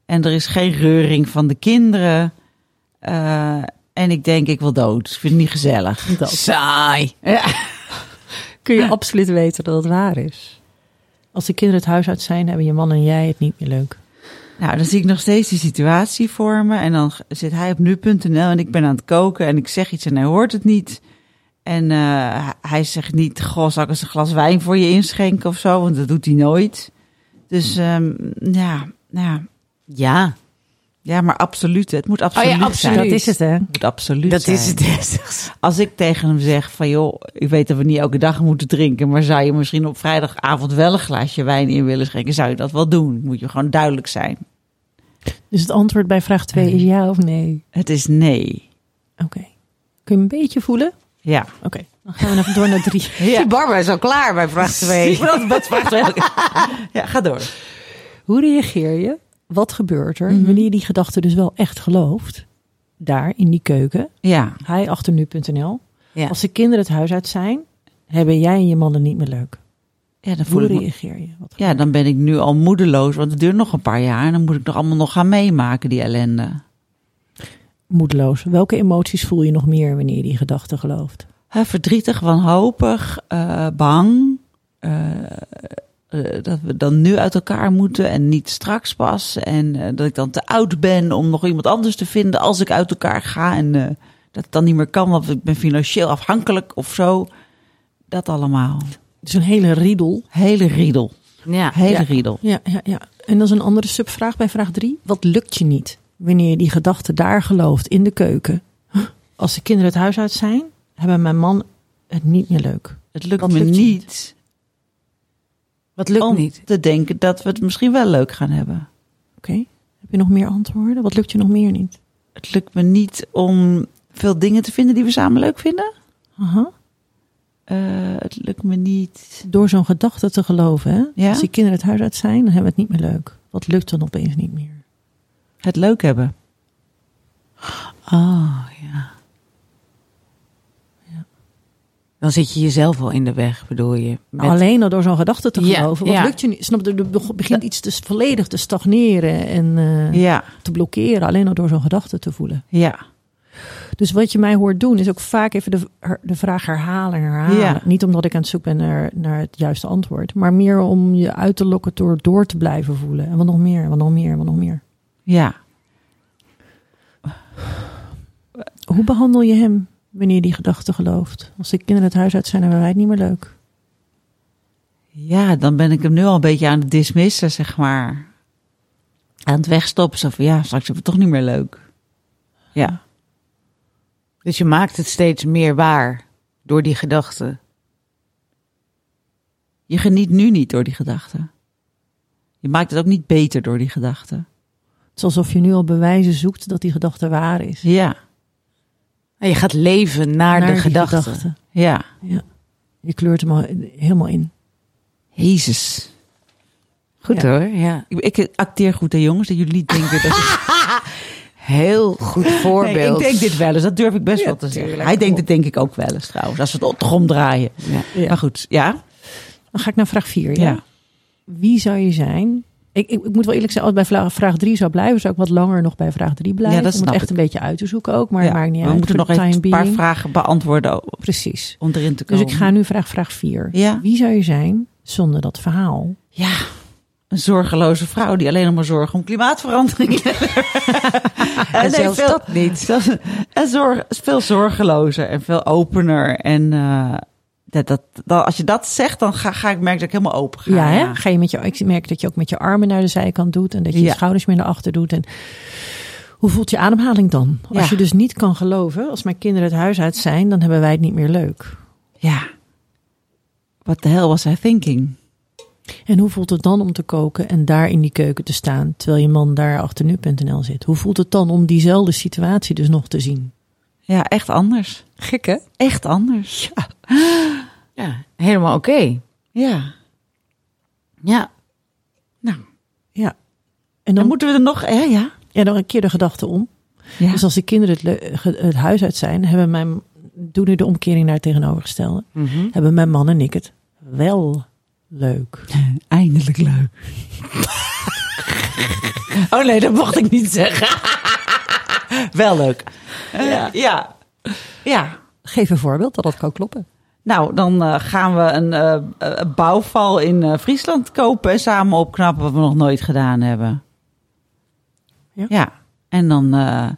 Speaker 1: En er is geen reuring van de kinderen. Eh, en ik denk, ik wil dood. Ik vind het niet gezellig.
Speaker 2: Saai.
Speaker 3: kun je absoluut weten dat het waar is. Als de kinderen het huis uit zijn, hebben je man en jij het niet meer leuk.
Speaker 1: Nou, dan zie ik nog steeds die situatie voor me. En dan g- zit hij op nu.nl en ik ben aan het koken. En ik zeg iets en hij hoort het niet. En eh, h- hij zegt niet, goh, zal ik eens een glas wijn voor je inschenken of zo? Want dat doet hij nooit. Dus ehm, ja, nou ja,
Speaker 2: Ja, Oh
Speaker 1: ja, maar absoluut. hè. Het moet absoluut, zijn.
Speaker 2: absoluut.
Speaker 3: Dus Dat is het, hè? Dus
Speaker 1: Het moet absoluut
Speaker 2: dat
Speaker 1: zijn.
Speaker 2: is het.
Speaker 1: Als ik tegen hem zeg van, joh, ik weet dat we niet elke dag moeten drinken. Maar zou je misschien op vrijdagavond wel een glaasje wijn in willen schenken? Zou je dat wel doen? Moet je gewoon duidelijk zijn.
Speaker 3: Dus het antwoord bij vraag 2 is ja of nee?
Speaker 1: Het is nee.
Speaker 3: Oké. Kun je een beetje voelen?
Speaker 1: Ja.
Speaker 3: Oké. Dan gaan we even door naar 3.
Speaker 2: Die Barbara is al klaar bij vraag 2.
Speaker 1: Wat, wat vraagt u eigenlijk? Ja, ga door.
Speaker 3: Hoe reageer je? Wat gebeurt er wanneer je die gedachte dus wel echt gelooft? Daar in die keuken,
Speaker 1: Ja,
Speaker 3: hij achter nu.nl.
Speaker 2: Ja.
Speaker 3: Als de kinderen het huis uit zijn, hebben jij en je man het niet meer leuk.
Speaker 1: ja, dan voel
Speaker 3: Hoe
Speaker 1: ik me-
Speaker 3: reageer je? Wat
Speaker 1: Ja, dan ben ik nu al moedeloos, want het duurt nog een paar jaar. En dan moet ik nog allemaal nog gaan meemaken, die ellende.
Speaker 3: moedeloos. Welke emoties voel je nog meer wanneer je die gedachte gelooft?
Speaker 1: Hè, verdrietig, wanhopig, eh, bang. eh, eh, dat we dan nu uit elkaar moeten en niet straks pas. En eh, dat ik dan te oud ben om nog iemand anders te vinden als ik uit elkaar ga. En eh, dat het dan niet meer kan, want ik ben financieel afhankelijk of zo. Dat allemaal.
Speaker 3: Dus een hele riedel.
Speaker 1: Hele riedel.
Speaker 2: Ja.
Speaker 1: Hele
Speaker 3: Ja.
Speaker 1: riedel.
Speaker 3: Ja, ja, ja. En dat is een andere subvraag bij vraag drie. Wat lukt je niet wanneer je die gedachte daar gelooft in de keuken? Huh, Als de kinderen het huis uit zijn, hebben mijn man het niet meer leuk.
Speaker 1: Het lukt
Speaker 3: Wat
Speaker 1: me
Speaker 3: lukt je
Speaker 1: niet,
Speaker 2: Wat lukt
Speaker 1: om
Speaker 2: niet?
Speaker 1: te denken dat we het misschien wel leuk gaan hebben.
Speaker 3: Oké. Heb je nog meer antwoorden? Wat lukt je nog meer niet?
Speaker 1: Het lukt me niet om veel dingen te vinden die we samen leuk vinden.
Speaker 3: Aha.
Speaker 1: Eh, het lukt me niet.
Speaker 3: Door zo'n gedachte te geloven, hè?
Speaker 1: Ja.
Speaker 3: als die kinderen het huis uit zijn, dan hebben we het niet meer leuk. Wat lukt dan opeens niet meer?
Speaker 1: Het leuk hebben.
Speaker 2: Oh, ja. Dan zit je jezelf al in de weg, bedoel je. Met-
Speaker 3: Alleen al door zo'n gedachte te
Speaker 2: Ja,
Speaker 3: geloven. Wat
Speaker 2: ja.
Speaker 3: lukt je niet? Snap je, er beg- begint iets te, volledig te stagneren en eh,
Speaker 1: Ja,
Speaker 3: te blokkeren. Alleen al door zo'n gedachte te voelen.
Speaker 1: ja,
Speaker 3: Dus wat je mij hoort doen, is ook vaak even de, her- de vraag herhalen en herhalen.
Speaker 1: Ja.
Speaker 3: Niet omdat ik aan het zoek ben naar, naar het juiste antwoord. Maar meer om je uit te lokken door door te blijven voelen. En wat nog meer, en wat nog meer, en wat nog meer.
Speaker 1: ja.
Speaker 3: Hoe behandel je hem wanneer je die gedachte gelooft? Als de kinderen het huis uit zijn, hebben wij het niet meer leuk.
Speaker 1: Ja, dan ben ik hem nu al een beetje aan het dismissen, zeg maar. Aan het wegstoppen. Zo van, ja, straks hebben we het toch niet meer leuk. Ja,
Speaker 2: Dus je maakt het steeds meer waar door die gedachten.
Speaker 1: je geniet nu niet door die gedachten. Je maakt het ook niet beter door die gedachten.
Speaker 3: Het is alsof je nu al bewijzen zoekt dat die gedachte waar is.
Speaker 1: Ja,
Speaker 2: En je gaat leven naar,
Speaker 3: Naar
Speaker 2: de
Speaker 3: die
Speaker 2: gedachten.
Speaker 3: gedachte.
Speaker 1: ja.
Speaker 3: Ja. Je kleurt hem al eh, helemaal in.
Speaker 1: Jezus.
Speaker 2: Goed
Speaker 3: Ja.
Speaker 2: hoor, ja.
Speaker 1: Ik, ik acteer goed, hè jongens, dat jullie niet denken dat ik...
Speaker 2: Heel goed voorbeeld.
Speaker 1: Nee, ik denk dit wel eens, dat durf ik best
Speaker 3: Ja,
Speaker 1: wel te zeggen.
Speaker 3: tuurlijk.
Speaker 1: Hij denkt het denk ik ook wel eens trouwens, als we het toch omdraaien.
Speaker 2: Ja.
Speaker 1: Maar goed, ja?
Speaker 3: Dan ga ik naar vraag 4. Ja?
Speaker 1: Ja.
Speaker 3: Wie zou je zijn? Ik, ik, ik moet wel eerlijk zijn, als ik bij vla- vraag 3 zou blijven, zou ik wat langer nog bij vraag 3 blijven.
Speaker 1: Ja, dat
Speaker 3: om
Speaker 1: snap
Speaker 3: het echt
Speaker 1: ik.
Speaker 3: een beetje uit te zoeken ook, maar
Speaker 1: Ja.
Speaker 3: het maakt niet
Speaker 1: we
Speaker 3: uit.
Speaker 1: moeten
Speaker 3: voor
Speaker 1: nog
Speaker 3: de
Speaker 1: even
Speaker 3: time
Speaker 1: een paar
Speaker 3: being.
Speaker 1: vragen beantwoorden om-
Speaker 3: Precies.
Speaker 1: om erin te
Speaker 3: Dus
Speaker 1: komen.
Speaker 3: ik ga nu vraag vraag 4.
Speaker 1: Ja.
Speaker 3: Wie zou je zijn zonder dat verhaal?
Speaker 1: Ja, een zorgeloze vrouw die alleen nog maar zorgen om klimaatverandering. en
Speaker 2: zelfs dat
Speaker 1: niet. en zorg, veel zorgelozer en veel opener. En eh, dat, dat, dat- als je dat zegt, dan ga, ga ik merken dat ik helemaal open ga.
Speaker 3: Ja, hè? Ga je met je, ik merk dat je ook met je armen naar de zijkant doet en dat je
Speaker 1: Ja.
Speaker 3: je schouders meer naar achter doet. En hoe voelt je ademhaling dan? Als
Speaker 1: Ja.
Speaker 3: je dus niet kan geloven, als mijn kinderen het huis uit zijn, dan hebben wij het niet meer leuk.
Speaker 1: Ja. What the hell was hij thinking?
Speaker 3: En hoe voelt het dan om te koken en daar in die keuken te staan, terwijl je man daar achter nu.nl zit? Hoe voelt het dan om diezelfde situatie dus nog te zien?
Speaker 1: Ja, echt anders.
Speaker 2: Gek hè?
Speaker 1: Echt anders. Ja.
Speaker 2: Ja, helemaal oké. Ja.
Speaker 1: Nou,
Speaker 3: Ja. En
Speaker 1: dan
Speaker 3: dan moet
Speaker 1: moeten we er nog... Ja, ja.
Speaker 3: ja, nog een keer de gedachte om.
Speaker 1: ja.
Speaker 3: Dus als de kinderen het, le- ge- het huis uit zijn, hebben mijn, doe nu de omkering naar het tegenovergestelde. Hebben mijn man en ik het wel leuk.
Speaker 1: Eindelijk leuk. oh nee, dat mocht ik niet zeggen. Wel leuk. ja. ja. Ja.
Speaker 3: Geef een voorbeeld dat dat kan kloppen.
Speaker 1: Nou, dan eh, gaan we een eh, eh, een bouwval in eh, Friesland kopen en samen opknappen wat we nog nooit gedaan hebben.
Speaker 3: Ja.
Speaker 1: En dan eh,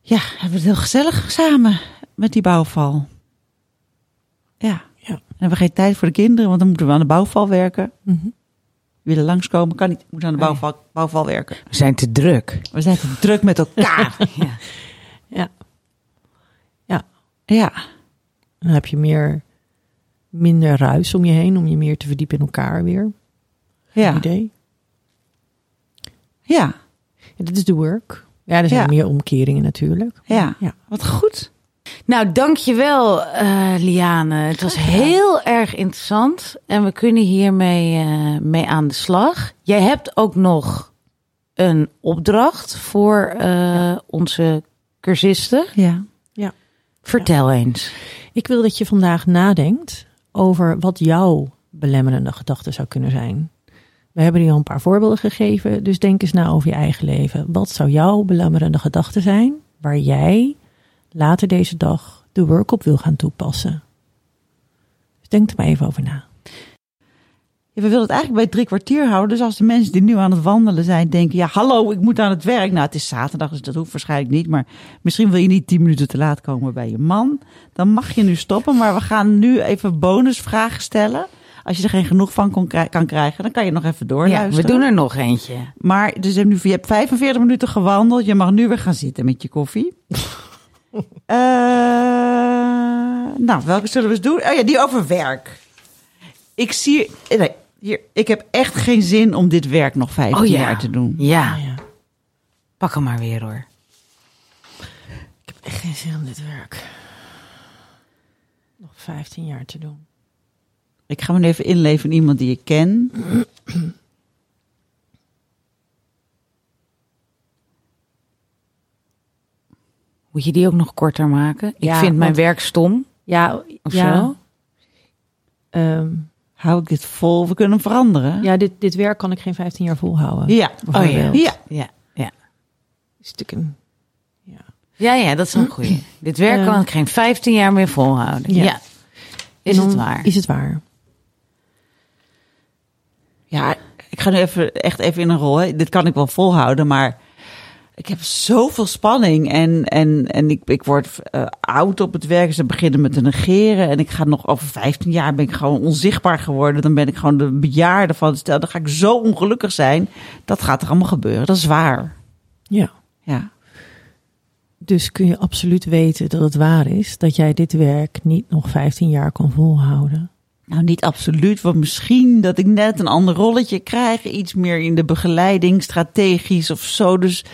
Speaker 1: ja, hebben we het heel gezellig samen met die bouwval. Ja.
Speaker 3: Ja.
Speaker 1: Dan hebben we geen tijd voor de kinderen, want dan moeten we aan de bouwval werken.
Speaker 3: Mhm.
Speaker 1: willen langskomen, kan niet. Moeten aan de
Speaker 2: Nee.
Speaker 1: bouwval, bouwval werken.
Speaker 2: We zijn te druk.
Speaker 1: We zijn te druk met elkaar.
Speaker 2: Ja.
Speaker 3: Ja.
Speaker 1: ja.
Speaker 3: Dan heb je meer, minder ruis om je heen, om je meer te verdiepen in elkaar weer.
Speaker 1: Ja.
Speaker 3: Idee.
Speaker 1: Ja.
Speaker 3: Ja, dit is de work. Ja, er zijn
Speaker 1: Ja.
Speaker 3: meer omkeringen natuurlijk.
Speaker 1: Ja.
Speaker 3: Ja.
Speaker 1: Wat goed.
Speaker 2: Nou, dankjewel eh Liane. Het was heel erg interessant. En we kunnen hiermee eh, mee aan de slag. Jij hebt ook nog een opdracht voor eh, onze cursisten.
Speaker 1: Ja.
Speaker 2: Vertel eens.
Speaker 3: Ik wil dat je vandaag nadenkt over wat jouw belemmerende gedachte zou kunnen zijn. We hebben hier al een paar voorbeelden gegeven, dus denk eens na over je eigen leven. Wat zou jouw belemmerende gedachte zijn waar jij later deze dag de work op wil gaan toepassen? Dus denk er maar even over na.
Speaker 1: Ja, we willen het eigenlijk bij drie kwartier houden. Dus als de mensen die nu aan het wandelen zijn denken... ja, hallo, ik moet aan het werk. Nou, het is zaterdag, dus dat hoeft waarschijnlijk niet. Maar misschien wil je niet tien minuten te laat komen bij je man. Dan mag je nu stoppen. Maar we gaan nu even bonusvragen stellen. Als je er geen genoeg van kon krij- kan krijgen, dan kan je nog even
Speaker 2: Ja,
Speaker 1: doorluisteren.
Speaker 2: we doen er nog eentje.
Speaker 1: Maar dus je, hebt nu, je hebt 45 minuten gewandeld. Je mag nu weer gaan zitten met je koffie. Eh, nou, welke zullen we eens doen? Oh ja, die over werk. Ik zie... eh, Nee, hier, ik heb echt geen zin om dit werk nog 15
Speaker 2: Oh ja.
Speaker 1: jaar te doen.
Speaker 2: Ja,
Speaker 3: Oh ja.
Speaker 2: pak hem maar weer hoor.
Speaker 3: Ik heb echt geen zin om dit werk nog 15 jaar te doen.
Speaker 1: Ik ga me nu even inleven in iemand die ik ken.
Speaker 2: Moet je die ook nog korter maken? Ik
Speaker 3: Ja,
Speaker 2: vind mijn
Speaker 3: want-
Speaker 2: werk stom
Speaker 3: Ja,
Speaker 2: of
Speaker 3: ja.
Speaker 2: zo.
Speaker 3: ehm,
Speaker 1: Hou ik dit vol? We kunnen hem veranderen.
Speaker 3: ja dit, dit werk kan ik geen 15 jaar
Speaker 1: Ja.
Speaker 3: volhouden.
Speaker 2: Oh ja.
Speaker 3: Bijvoorbeeld.
Speaker 1: Ja.
Speaker 2: Ja, ja.
Speaker 3: Is natuurlijk een- ja.
Speaker 2: Ja, ja, dat is een goeie. Dit werk
Speaker 3: Eh.
Speaker 2: kan ik geen 15 jaar meer volhouden. Ja.
Speaker 3: Ja.
Speaker 2: Is
Speaker 3: En dan
Speaker 2: het waar?
Speaker 3: Is het waar?
Speaker 1: Ja, ik ga nu even, echt even in een rol. Hè. Dit kan ik wel volhouden, maar ik heb zoveel spanning. En, en, en ik, ik word eh, oud op het werk. Ze beginnen me te negeren. En ik ga nog over 15 jaar ben ik gewoon onzichtbaar geworden. Dan ben ik gewoon de bejaarde van het stel. Dan ga ik zo ongelukkig zijn. Dat gaat er allemaal gebeuren. Dat is waar.
Speaker 3: Ja.
Speaker 1: Ja.
Speaker 3: Dus kun je absoluut weten dat het waar is dat jij dit werk niet nog 15 jaar kan volhouden.
Speaker 1: Nou, niet absoluut, want misschien dat ik net een ander rolletje krijg. Iets meer in de begeleiding, strategisch of zo. Dus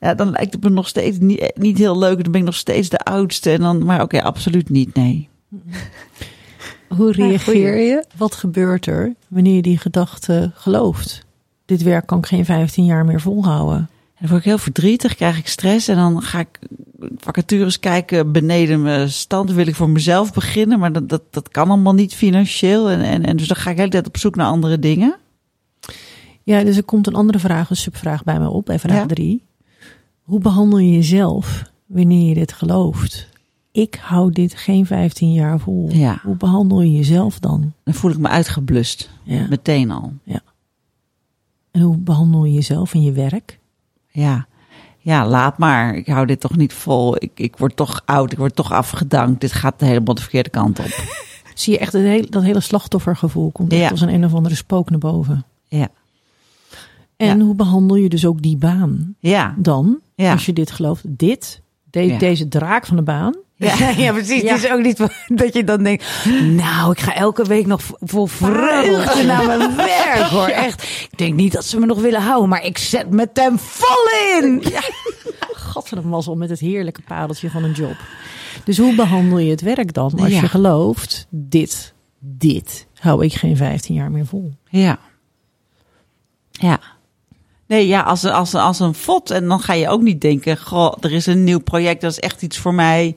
Speaker 1: ja, dan lijkt het me nog steeds eh, niet, niet heel leuk. Dan ben ik nog steeds de oudste. En dan, maar oké, absoluut niet, nee.
Speaker 4: Hoe reageer
Speaker 2: goeie.
Speaker 4: je? Wat gebeurt er wanneer je die gedachte gelooft? Dit werk kan ik geen 15 jaar meer volhouden.
Speaker 1: En dan word ik heel verdrietig, krijg ik stress en dan ga ik vacatures kijken beneden mijn stand. Wil ik voor mezelf beginnen, maar dat, dat, dat kan allemaal niet financieel. En, en, en dus dan ga ik de hele tijd op zoek naar andere dingen.
Speaker 3: Ja, dus er komt een andere vraag, een subvraag bij mij op, bij vraag
Speaker 1: Ja.
Speaker 3: drie. Hoe behandel je jezelf wanneer je dit gelooft? Ik hou dit geen 15 jaar vol.
Speaker 1: Ja.
Speaker 3: Hoe behandel je jezelf dan?
Speaker 1: Dan voel ik me uitgeblust,
Speaker 3: Ja.
Speaker 1: meteen al.
Speaker 3: En hoe behandel je jezelf in je werk?
Speaker 1: Ja. ja, laat maar. Ik hou dit toch niet vol. Ik, ik word toch oud, ik word toch afgedankt. Dit gaat helemaal de verkeerde kant op.
Speaker 3: Zie je echt het hele, dat hele slachtoffergevoel komt echt
Speaker 1: Ja.
Speaker 3: als een een of andere spook naar boven.
Speaker 1: Ja,
Speaker 3: En hoe behandel je dus ook die baan
Speaker 1: ja.
Speaker 3: dan?
Speaker 1: Ja.
Speaker 3: Als je dit gelooft, dit, de-
Speaker 1: Ja.
Speaker 3: deze draak van de baan.
Speaker 2: Ja, ja precies. Het is ook niet dat je dan denkt, nou, ik ga elke week nog vo- vol vreugde naar mijn werk hoor. Echt, ik denk niet dat ze me nog willen houden, maar ik zet me ten volle in.
Speaker 3: Gat van een mazzel met het heerlijke pareltje van een job. Dus hoe behandel je het werk dan als
Speaker 1: Ja.
Speaker 3: je gelooft, dit, dit hou ik geen 15 jaar meer vol.
Speaker 1: Ja. Ja. Nee, ja, als, een- als, een- als een fot. En dan ga je ook niet denken, goh, er is een nieuw project, dat is echt iets voor mij.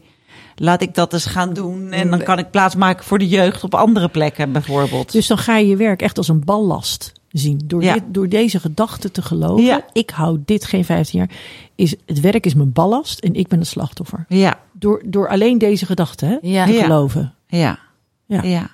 Speaker 1: Laat ik dat eens gaan doen. En dan kan ik plaatsmaken voor de jeugd op andere plekken bijvoorbeeld.
Speaker 3: Dus dan ga je je werk echt als een ballast zien. Door,
Speaker 1: Ja.
Speaker 3: dit, door deze gedachte te geloven,
Speaker 1: Ja.
Speaker 3: ik hou dit geen 15 jaar, is het werk is mijn ballast en ik ben het slachtoffer.
Speaker 1: ja,
Speaker 3: Door, door alleen deze gedachte hè,
Speaker 2: Ja.
Speaker 3: te
Speaker 1: Ja.
Speaker 3: geloven.
Speaker 1: ja,
Speaker 3: Ja.
Speaker 1: ja. ja.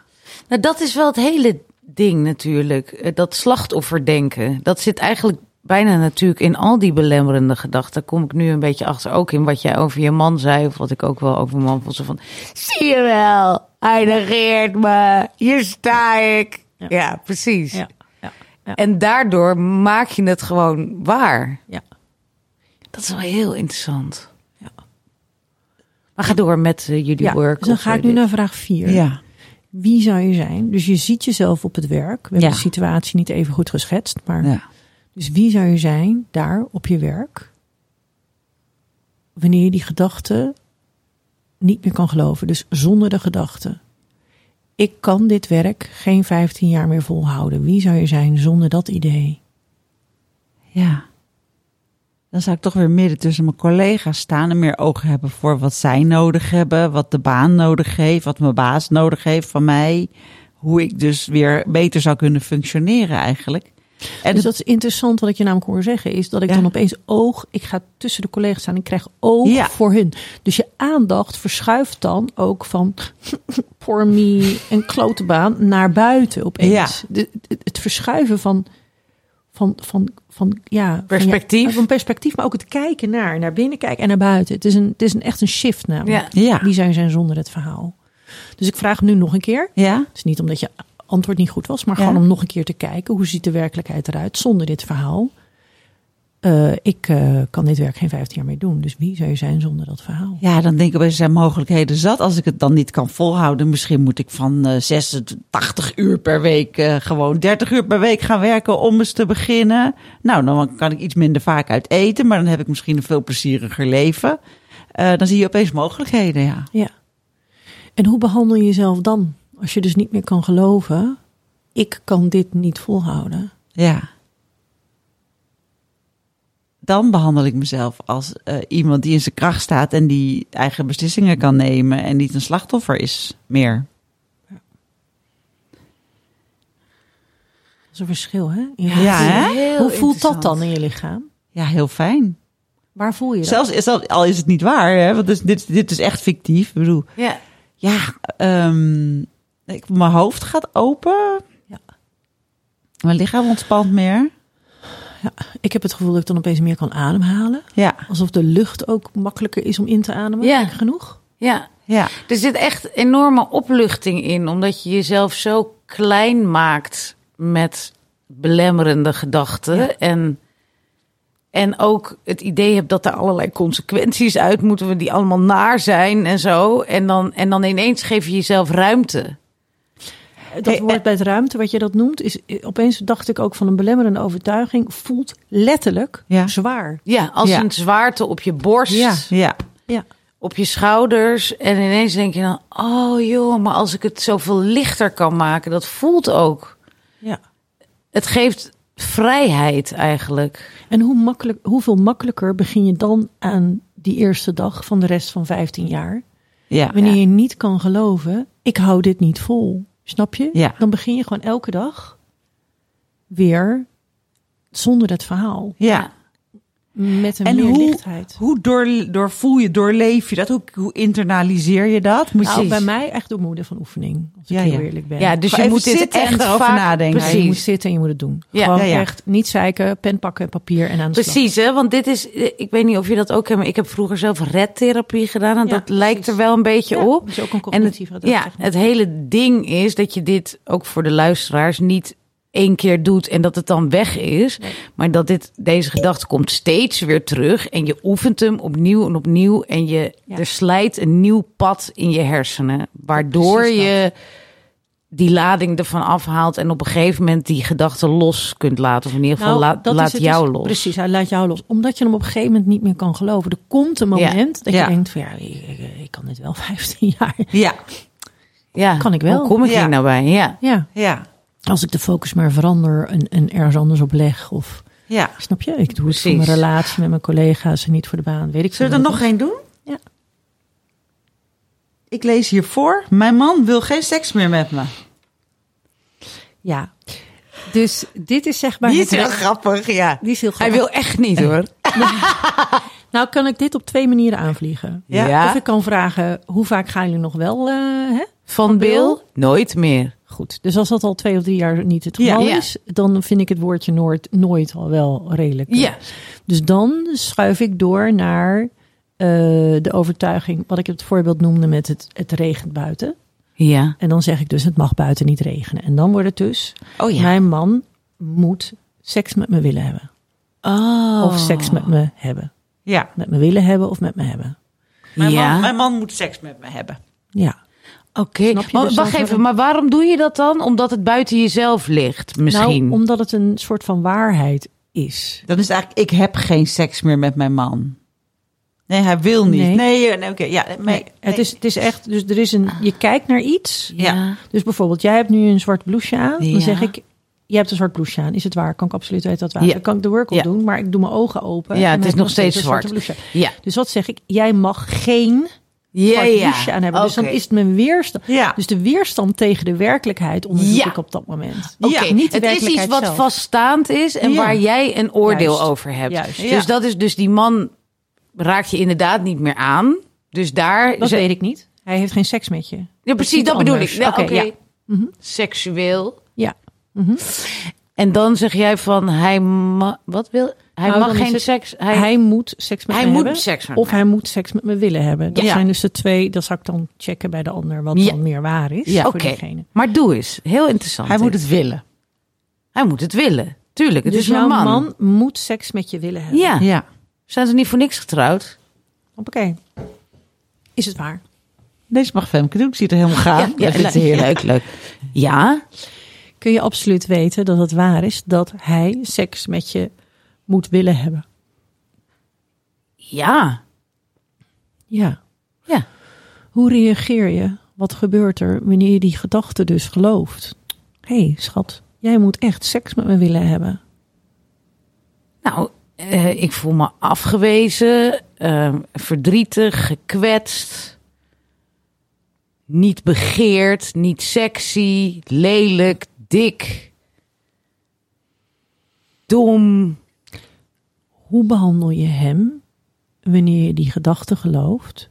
Speaker 2: Nou, dat is wel het hele ding natuurlijk. Eh, Dat slachtofferdenken. Dat zit eigenlijk bijna natuurlijk in al die belemmerende gedachten. Daar kom ik nu een beetje achter. Ook in wat jij over je man zei. Of wat ik ook wel over mijn man vond. Zo van, zie je wel, hij negeert me. Hier sta ik. Ja, precies.
Speaker 3: Ja. Ja. Ja.
Speaker 2: En daardoor maak je het gewoon waar.
Speaker 3: Ja.
Speaker 2: Dat is wel heel interessant. Maar ga door met eh, jullie
Speaker 3: Ja,
Speaker 2: work.
Speaker 3: dus dan
Speaker 2: of,
Speaker 3: ga
Speaker 2: eh,
Speaker 3: ik nu
Speaker 2: dit.
Speaker 3: naar vraag 4.
Speaker 1: ja.
Speaker 3: Wie zou je zijn? Dus je ziet jezelf op het werk. We hebben
Speaker 1: Ja.
Speaker 3: de situatie niet even goed geschetst. Maar
Speaker 1: ja.
Speaker 3: Dus wie zou je zijn daar op je werk? Wanneer je die gedachte niet meer kan geloven. Dus zonder de gedachte. Ik kan dit werk geen 15 jaar meer volhouden. Wie zou je zijn zonder dat idee?
Speaker 1: Ja. Dan zou ik toch weer midden tussen mijn collega's staan en meer oog hebben voor wat zij nodig hebben, wat de baan nodig heeft, wat mijn baas nodig heeft van mij. Hoe ik dus weer beter zou kunnen functioneren eigenlijk. En
Speaker 3: dus
Speaker 1: dus
Speaker 3: dat is interessant wat ik je namelijk hoor zeggen. Is dat ik
Speaker 1: Ja.
Speaker 3: dan opeens oog... Ik ga tussen de collega's staan. Ik krijg oog
Speaker 1: Ja.
Speaker 3: voor hun. Dus je aandacht verschuift dan ook van... Poor me, een klote baan, naar buiten opeens. De- het- het verschuiven van... Van, van, van, ja, van je-
Speaker 2: Perspectief.
Speaker 3: Van perspectief, maar ook het kijken naar. Naar binnen kijken en naar buiten. Het is, een, het is een, echt een shift namelijk.
Speaker 1: Ja. Ja.
Speaker 3: Die zijn zijn zonder het verhaal. Dus ik vraag nu nog een keer.
Speaker 1: ja,
Speaker 3: Het is niet omdat je antwoord niet goed was, maar
Speaker 1: Ja.
Speaker 3: gewoon om nog een keer te kijken hoe ziet de werkelijkheid eruit zonder dit verhaal. Eh, ik eh, kan dit werk geen 15 jaar meer doen. Dus wie zou je zijn zonder dat verhaal?
Speaker 1: ja, dan denk ik opeens, er zijn mogelijkheden zat. Als ik het dan niet kan volhouden, misschien moet ik van eh 86 uur per week eh, gewoon 30 uur per week gaan werken om eens te beginnen. Nou, dan kan ik iets minder vaak uit eten, maar dan heb ik misschien een veel plezieriger leven. Eh, dan zie je opeens mogelijkheden, ja.
Speaker 3: Ja. En hoe behandel je jezelf dan? Als je dus niet meer kan geloven, ik kan dit niet volhouden.
Speaker 1: Ja. Dan behandel ik mezelf als eh, iemand die in zijn kracht staat en die eigen beslissingen kan nemen en niet een slachtoffer is meer.
Speaker 3: Dat is een verschil, hè?
Speaker 1: Ja, hè?
Speaker 2: Heel
Speaker 3: Hoe voelt dat
Speaker 2: interessant.
Speaker 3: dan in je lichaam?
Speaker 1: Ja, heel fijn.
Speaker 3: Waar voel je dat?
Speaker 1: Zelfs, zelfs al is het niet waar, hè? want dus dit, dit is echt fictief. Ik bedoel,
Speaker 2: Ja.
Speaker 1: ja, ehm, ik, mijn hoofd gaat open.
Speaker 3: Ja.
Speaker 1: Mijn lichaam ontspant meer.
Speaker 3: Ik heb het gevoel dat ik dan opeens meer kan ademhalen.
Speaker 1: Ja,
Speaker 3: Alsof de lucht ook makkelijker is om in te ademen.
Speaker 2: Ja.
Speaker 3: Heb ik genoeg?
Speaker 2: ja.
Speaker 1: ja,
Speaker 2: Er zit echt enorme opluchting in, omdat je jezelf zo klein maakt met belemmerende gedachten. En, en ook het idee hebt dat er allerlei consequenties uit moeten, we die allemaal naar zijn en zo. En dan, en dan ineens geef je jezelf ruimte.
Speaker 3: Dat
Speaker 1: Hey, eh-
Speaker 3: woord bij het ruimte, wat je dat noemt, is eh, opeens dacht ik ook van een belemmerende overtuiging. Voelt letterlijk
Speaker 1: Ja.
Speaker 3: zwaar.
Speaker 2: Ja, als
Speaker 1: Ja.
Speaker 2: een zwaarte op je borst.
Speaker 1: ja.
Speaker 3: Ja.
Speaker 2: op je schouders. En ineens denk je dan, oh joh, maar als ik het zoveel lichter kan maken, dat voelt ook.
Speaker 1: Ja.
Speaker 2: Het geeft vrijheid eigenlijk.
Speaker 3: En hoe makkelijk, hoeveel makkelijker begin je dan aan die eerste dag van de rest van 15 jaar?
Speaker 1: Ja.
Speaker 3: Wanneer je niet kan geloven, ik hou dit niet vol. Snap je?
Speaker 1: Ja.
Speaker 3: Dan begin je gewoon elke dag weer zonder dat verhaal.
Speaker 1: ja.
Speaker 3: Met een
Speaker 1: En
Speaker 3: meer
Speaker 1: hoe,
Speaker 3: lichtheid.
Speaker 1: hoe door, doorvoel je, doorleef je dat? Hoe, hoe internaliseer je dat? Moet
Speaker 3: Nou,
Speaker 1: je,
Speaker 3: bij mij echt door moeder van oefening. Als ik
Speaker 1: Ja,
Speaker 3: heel
Speaker 1: ja.
Speaker 3: eerlijk ben.
Speaker 2: Ja, dus
Speaker 1: Gewoon
Speaker 2: je
Speaker 1: even
Speaker 2: moet dit
Speaker 1: zitten en
Speaker 2: echt
Speaker 1: erover
Speaker 2: vaak,
Speaker 1: nadenken.
Speaker 3: Ja, je moet
Speaker 2: Precies,
Speaker 3: zitten en je moet het doen.
Speaker 2: Ja.
Speaker 3: Gewoon
Speaker 1: Ja, ja.
Speaker 3: echt niet zeiken, pen pakken en papier en aan de slag.
Speaker 2: precies hè? want dit is, ik weet niet of je dat ook hebt, maar ik heb vroeger zelf redtherapie gedaan en
Speaker 3: Ja,
Speaker 2: dat lijkt er
Speaker 3: precies.
Speaker 2: wel een beetje
Speaker 3: Ja,
Speaker 2: op.
Speaker 3: dat is ook een
Speaker 2: En het,
Speaker 3: cognitieve
Speaker 2: ja,
Speaker 3: techniek.
Speaker 2: het hele ding is dat je dit ook voor de luisteraars niet één keer doet en dat het dan weg is. Maar dat dit, deze gedachte komt steeds weer terug en je oefent hem opnieuw en opnieuw. En je,
Speaker 3: Ja.
Speaker 2: er slijt een nieuw pad in je hersenen, waardoor
Speaker 3: Precies dat.
Speaker 2: je die lading ervan afhaalt en op een gegeven moment die gedachte los kunt laten. Of in ieder geval
Speaker 3: Nou,
Speaker 2: laat,
Speaker 3: dat is
Speaker 2: laat
Speaker 3: het
Speaker 2: jou
Speaker 3: dus-
Speaker 2: los.
Speaker 3: Precies, hij laat jou los. Omdat je hem op een gegeven moment niet meer kan geloven. Er komt een
Speaker 2: Ja.
Speaker 3: moment dat
Speaker 1: Ja.
Speaker 3: je denkt van ja, ik, ik- ik kan dit wel 15 jaar.
Speaker 1: Ja,
Speaker 2: Ja,
Speaker 3: Kan ik wel.
Speaker 2: Hoe kom ik
Speaker 1: Ja.
Speaker 2: hier nou bij? Ja.
Speaker 3: Ja,
Speaker 1: ja,
Speaker 3: als ik de focus maar verander en, en ergens anders op leg. Of,
Speaker 1: ja.
Speaker 3: snap je? Ik doe het voor
Speaker 2: Precies.
Speaker 3: mijn relatie met mijn collega's en niet voor de baan. Weet ik
Speaker 1: Zullen we
Speaker 3: veel
Speaker 1: er
Speaker 3: wat
Speaker 1: nog één doen?
Speaker 3: Ja.
Speaker 1: Ik lees hiervoor. Mijn man wil geen seks meer met me.
Speaker 5: Ja. Dus dit is zeg maar.
Speaker 1: Die
Speaker 5: het
Speaker 1: is heel
Speaker 5: re-
Speaker 1: grappig, ja.
Speaker 5: die is heel
Speaker 2: Hij
Speaker 5: grappig.
Speaker 2: wil echt niet hoor.
Speaker 3: is. Nou kan ik dit op twee manieren aanvliegen.
Speaker 1: Ja.
Speaker 3: Of ik kan vragen, hoe vaak gaan jullie nog wel? eh, hè?
Speaker 2: Van Bill?
Speaker 3: Bill?
Speaker 2: Nooit meer.
Speaker 3: Goed, dus als dat al twee of drie jaar niet het
Speaker 1: Ja.
Speaker 3: geval
Speaker 2: Ja.
Speaker 3: is, dan vind ik het woordje nooit, nooit al wel redelijk. eh,
Speaker 2: Ja.
Speaker 3: Dus dan schuif ik door naar eh, de overtuiging, wat ik het voorbeeld noemde met het, het regent buiten.
Speaker 2: Ja.
Speaker 3: En dan zeg ik dus, het mag buiten niet regenen. En dan wordt het dus,
Speaker 2: Oh ja.
Speaker 3: mijn man moet seks met me willen hebben.
Speaker 2: Oh.
Speaker 3: Of seks met me hebben.
Speaker 1: Ja.
Speaker 3: Met me willen hebben of met me hebben.
Speaker 1: Mijn,
Speaker 2: ja.
Speaker 1: man, mijn man moet seks met me hebben.
Speaker 3: Ja.
Speaker 2: Oké.
Speaker 3: Snap je
Speaker 2: Maar
Speaker 3: dus
Speaker 2: Wacht
Speaker 3: wel
Speaker 2: even,
Speaker 3: waarom-
Speaker 2: maar waarom doe je dat dan? Omdat het buiten jezelf ligt, misschien.
Speaker 3: Nou, omdat het een soort van waarheid is.
Speaker 1: Dan is het eigenlijk, ik heb geen seks meer met mijn man. Nee, hij wil niet. Nee,
Speaker 3: Nee.
Speaker 1: nee, oké. ja, nee,
Speaker 3: Het,
Speaker 1: nee.
Speaker 3: is, het is echt, dus er is een, je kijkt naar iets.
Speaker 1: Ja.
Speaker 3: Dus bijvoorbeeld, jij hebt nu een zwart blouseje aan.
Speaker 2: Ja.
Speaker 3: Dan zeg ik, je hebt een zwart blouseje aan. Is het waar? Kan ik absoluut weten dat het waar is?
Speaker 2: Ja.
Speaker 3: Dan kan ik de work op
Speaker 2: Ja.
Speaker 3: doen, maar ik doe mijn ogen open.
Speaker 2: Ja,
Speaker 3: en
Speaker 2: het
Speaker 3: dan
Speaker 2: is
Speaker 3: heb ik
Speaker 2: nog steeds
Speaker 3: een
Speaker 2: zwart.
Speaker 3: zwarte blouseje.
Speaker 2: Ja.
Speaker 3: Dus wat zeg ik? Jij mag geen
Speaker 2: Ja,
Speaker 3: zwart
Speaker 2: ja.
Speaker 3: blouseje aan hebben. Dus dan
Speaker 2: Oké.
Speaker 3: is het mijn weerstand.
Speaker 1: Ja.
Speaker 3: Dus de weerstand tegen de werkelijkheid onderzoek
Speaker 2: Ja. Dus
Speaker 3: ik op dat moment.
Speaker 2: Oké,
Speaker 3: Ja, niet de
Speaker 2: het is iets
Speaker 3: werkelijkheid
Speaker 2: wat
Speaker 3: zelf.
Speaker 2: vaststaand is en
Speaker 3: Ja.
Speaker 2: waar jij een oordeel
Speaker 3: Juist.
Speaker 2: over hebt.
Speaker 3: Juist.
Speaker 2: Dus
Speaker 1: Ja.
Speaker 2: dat is dus die man raakt je inderdaad niet meer aan. Dus daar.
Speaker 3: Dat
Speaker 2: ze-
Speaker 3: weet ik niet. Hij heeft geen seks met je.
Speaker 2: Ja, precies,
Speaker 3: iets
Speaker 2: dat bedoel
Speaker 3: anders.
Speaker 2: ik. Ja, Oké.
Speaker 3: Oké, ja. Mhm.
Speaker 2: Seksueel.
Speaker 3: Ja.
Speaker 2: En dan zeg jij van hij ma- wat wil hij
Speaker 3: Nou,
Speaker 2: mag
Speaker 3: dan is
Speaker 2: geen
Speaker 3: het-
Speaker 2: seks. Hij,
Speaker 3: Hij, moet seks met
Speaker 2: Hij
Speaker 3: me
Speaker 2: moet
Speaker 3: hebben.
Speaker 2: seks met
Speaker 3: of
Speaker 2: me
Speaker 3: hij moet seks met me willen hebben. Dat
Speaker 2: Ja.
Speaker 3: zijn dus de twee. Dat zou ik dan checken bij de ander. Wat
Speaker 2: Ja.
Speaker 3: dan meer waar is
Speaker 2: ja,
Speaker 3: voor
Speaker 2: oké.
Speaker 3: diegene.
Speaker 2: Maar doe eens, heel interessant.
Speaker 1: Hij
Speaker 2: dit.
Speaker 1: moet het willen.
Speaker 2: Hij moet het willen. Tuurlijk, het
Speaker 3: dus
Speaker 2: is mijn
Speaker 3: jouw
Speaker 2: man.
Speaker 3: man moet seks met je willen hebben.
Speaker 2: Ja.
Speaker 1: Ja.
Speaker 2: zijn ze niet voor niks getrouwd?
Speaker 3: Hoppakee. Is het waar?
Speaker 1: Deze mag Femke doen. Ik zie het er helemaal gaan. Ja, dit is heerlijk.
Speaker 2: leuk, leuk. Ja,
Speaker 3: Kun je absoluut weten dat het waar is dat hij seks met je moet willen hebben?
Speaker 2: ja,
Speaker 3: Ja.
Speaker 2: ja.
Speaker 3: Hoe reageer je? Wat gebeurt er wanneer je die gedachte dus gelooft? Hé, hey, schat, jij moet echt seks met me willen hebben.
Speaker 2: Nou, eh, ik voel me afgewezen, eh, verdrietig, gekwetst. Niet begeerd, niet sexy, lelijk, dik. Dom.
Speaker 3: Hoe behandel je hem wanneer je die gedachte gelooft?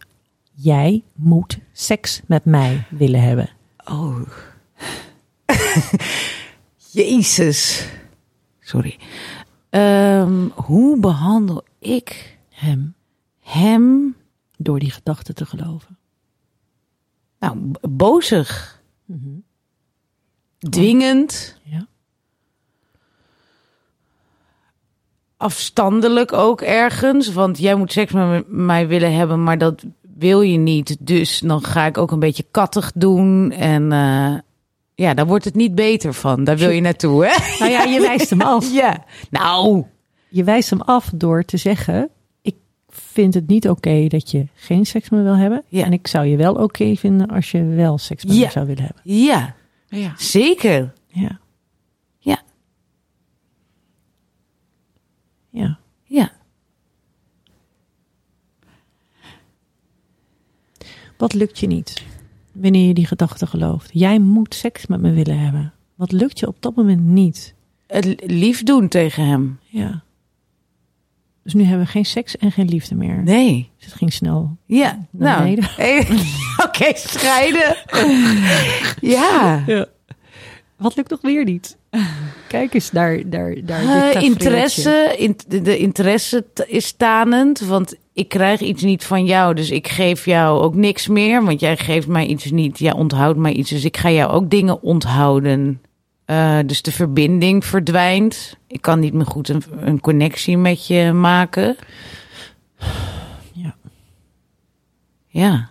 Speaker 3: Jij moet seks met mij willen hebben.
Speaker 2: Oh. Jezus. Sorry. Ehm, hoe behandel ik
Speaker 3: Hem
Speaker 2: hem?
Speaker 3: door die gedachte te geloven.
Speaker 2: Nou, b- bozig. Dwingend.
Speaker 3: Mhm. Oh, Ja.
Speaker 2: Afstandelijk ook ergens. Want jij moet seks met m- mij willen hebben, maar dat wil je niet. Dus dan ga ik ook een beetje kattig doen. En eh, ja, daar wordt het niet beter van. Daar wil je naartoe, hè?
Speaker 3: Nou ja, je wijst hem af.
Speaker 2: Ja. Nou.
Speaker 3: Je wijst hem af door te zeggen: Ik vind het niet oké dat je geen seks meer wil hebben.
Speaker 2: Ja.
Speaker 3: En ik zou je wel oké vinden als je wel seks met
Speaker 2: Ja.
Speaker 3: me zou willen hebben.
Speaker 2: Ja, zeker.
Speaker 3: Ja.
Speaker 2: Ja,
Speaker 3: ja.
Speaker 2: ja.
Speaker 3: Wat lukt je niet wanneer je die gedachte gelooft? Jij moet seks met me willen hebben. Wat lukt je op dat moment niet?
Speaker 2: Het li- lief doen tegen hem.
Speaker 3: Ja. Dus nu hebben we geen seks en geen liefde meer.
Speaker 2: Nee.
Speaker 3: Dus het ging snel.
Speaker 2: Ja,
Speaker 3: Naar
Speaker 2: nou.
Speaker 3: beneden.
Speaker 2: Hey, Oké, scheiden. ja.
Speaker 3: Ja. Wat lukt nog weer niet? Kijk eens daar. daar, daar
Speaker 2: Eh,
Speaker 3: dit tafereeltje.
Speaker 2: interesse, in- de- de interesse t- is tanend, want ik krijg iets niet van jou, dus ik geef jou ook niks meer, want jij geeft mij iets niet, jij onthoudt mij iets, dus ik ga jou ook dingen onthouden. Eh, dus de verbinding verdwijnt. Ik kan niet meer goed een, een connectie met je maken.
Speaker 3: Ja.
Speaker 2: Ja,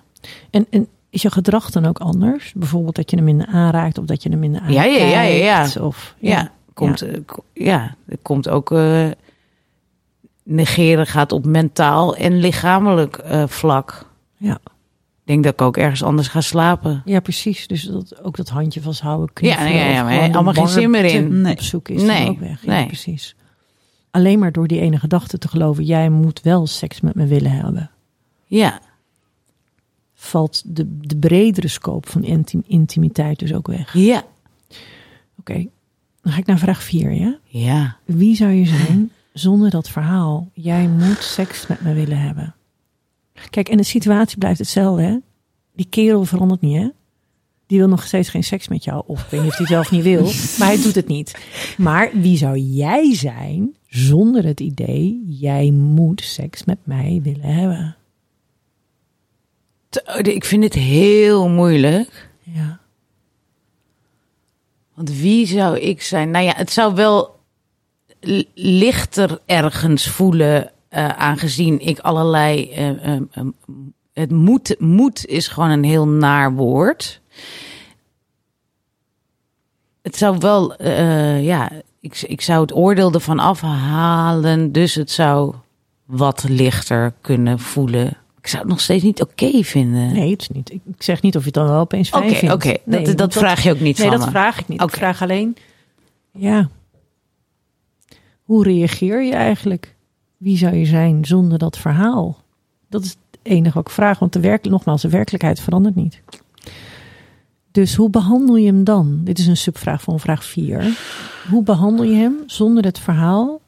Speaker 3: En, en is je gedrag dan ook anders? Bijvoorbeeld dat je hem minder aanraakt of dat je hem minder
Speaker 2: Ja,
Speaker 3: aankijkt?
Speaker 2: ja, ja, ja, ja.
Speaker 3: Of,
Speaker 2: ja. komt, eh, ko- ja er komt ook eh, negeren gaat op mentaal en lichamelijk eh, vlak.
Speaker 3: Ja.
Speaker 2: Ik denk dat ik ook ergens anders ga slapen.
Speaker 3: Ja, precies. Dus dat, ook dat handje vasthouden.
Speaker 2: Ja,
Speaker 3: knuffelen
Speaker 2: ja, ja,
Speaker 3: of
Speaker 2: maar
Speaker 3: gewoon de
Speaker 2: allemaal geen
Speaker 3: warmte
Speaker 2: zin meer in.
Speaker 3: Op zoek is
Speaker 2: Nee,
Speaker 3: dan ook weg. Ja,
Speaker 2: nee.
Speaker 3: precies. Alleen maar door die ene gedachte te geloven, jij moet wel seks met me willen hebben.
Speaker 2: Ja,
Speaker 3: Valt de, de bredere scope van intim- intimiteit dus ook weg.
Speaker 2: ja,
Speaker 3: Oké, dan ga ik naar vraag 4, ja?
Speaker 2: ja.
Speaker 3: Wie zou je zijn zonder dat verhaal? Jij moet seks met me willen hebben. Kijk, en de situatie blijft hetzelfde, hè? Die kerel verandert niet, hè? Die wil nog steeds geen seks met jou. Of ik weet niet of hij het wel of niet wil, maar hij doet het niet. Maar wie zou jij zijn zonder het idee... jij moet seks met mij willen hebben?
Speaker 2: T- oh, Ik vind het heel moeilijk.
Speaker 3: Ja.
Speaker 2: Want wie zou ik zijn? Nou ja, het zou wel l- lichter ergens voelen, eh, aangezien ik allerlei. eh, eh, eh, het moet, moet is gewoon een heel naar woord. Het zou wel, eh, ja, ik, ik zou het oordeel ervan afhalen, dus het zou wat lichter kunnen voelen. Ik zou het nog steeds niet oké vinden.
Speaker 3: Nee, het is niet. Ik ik zeg niet of je het dan wel opeens fijn
Speaker 2: Oké, oké,
Speaker 3: vindt. Nee,
Speaker 2: dat,
Speaker 3: want
Speaker 2: dat vraag je ook niet
Speaker 3: Nee,
Speaker 2: van
Speaker 3: dat
Speaker 2: me.
Speaker 3: vraag ik niet.
Speaker 2: Oké.
Speaker 3: Ik vraag alleen, ja, hoe reageer je eigenlijk? Wie zou je zijn zonder dat verhaal? Dat is het enige wat ik vraag, want de werk, nogmaals, de werkelijkheid verandert niet. Dus hoe behandel je hem dan? Dit is een subvraag van vraag 4. Hoe behandel je hem zonder het verhaal?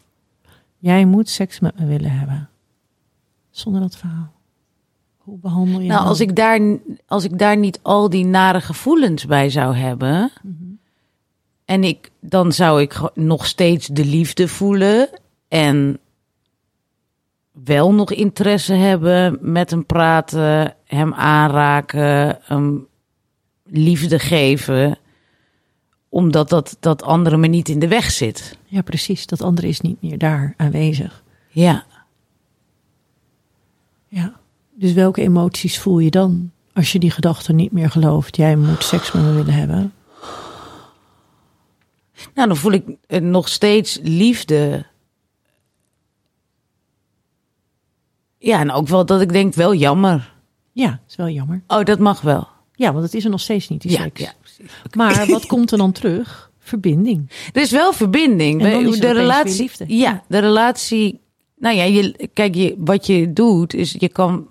Speaker 3: Jij moet seks met me willen hebben. Zonder dat verhaal. Hoe behandel je hem?
Speaker 2: Nou, als
Speaker 3: dan?
Speaker 2: ik, daar, als ik daar niet al die nare gevoelens bij zou hebben. En ik, dan zou ik ge- nog steeds de liefde voelen. En wel nog interesse hebben. Met hem praten, hem aanraken, hem liefde geven. Omdat dat, dat andere me niet in de weg zit.
Speaker 3: Ja, precies. Dat andere is niet meer daar aanwezig.
Speaker 2: Ja.
Speaker 3: Ja. Dus welke emoties voel je dan als je die gedachte niet meer gelooft? Jij moet seks met me willen hebben.
Speaker 2: Nou, dan voel ik eh, nog steeds liefde. Ja, en ook wel dat ik denk, wel jammer.
Speaker 3: Ja, is wel jammer.
Speaker 2: Oh, dat mag wel.
Speaker 3: Ja, want het is er nog steeds niet, die
Speaker 2: Ja,
Speaker 3: seks.
Speaker 2: ja,
Speaker 3: Maar wat komt er dan terug? Verbinding.
Speaker 2: Er is wel verbinding.
Speaker 3: En dan
Speaker 2: We-
Speaker 3: is er
Speaker 2: de
Speaker 3: opeens
Speaker 2: relatie.
Speaker 3: weer liefde.
Speaker 2: Ja, de relatie. Nou ja, je, kijk, je, wat je doet is je kan.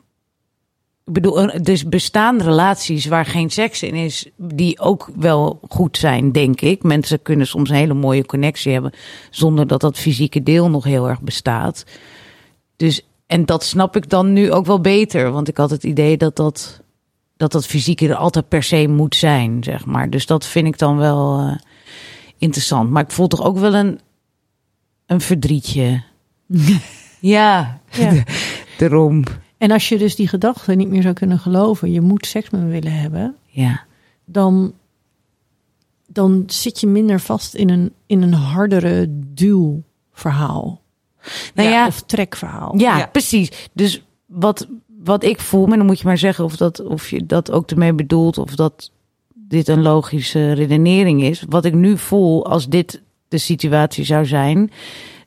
Speaker 2: Ik bedoel, er dus bestaan relaties waar geen seks in is, die ook wel goed zijn, denk ik. Mensen kunnen soms een hele mooie connectie hebben, zonder dat dat fysieke deel nog heel erg bestaat. Dus, en dat snap ik dan nu ook wel beter, want ik had het idee dat dat, dat, dat fysieke er altijd per se moet zijn, zeg maar. Dus dat vind ik dan wel. eh, interessant. Maar ik voel toch ook wel een, een verdrietje. ja,
Speaker 3: Ja.
Speaker 2: daarom.
Speaker 3: En als je dus die gedachte niet meer zou kunnen geloven, je moet seks met me willen hebben,
Speaker 2: Ja,
Speaker 3: dan, dan zit je minder vast in een, in een hardere duwverhaal.
Speaker 2: Nou ja.
Speaker 3: Of trekverhaal.
Speaker 2: ja,
Speaker 1: Ja.
Speaker 2: precies. Dus wat, wat ik voel, maar dan moet je maar zeggen of, dat, of je dat ook ermee bedoelt of dat dit een logische redenering is. Wat ik nu voel, als dit de situatie zou zijn,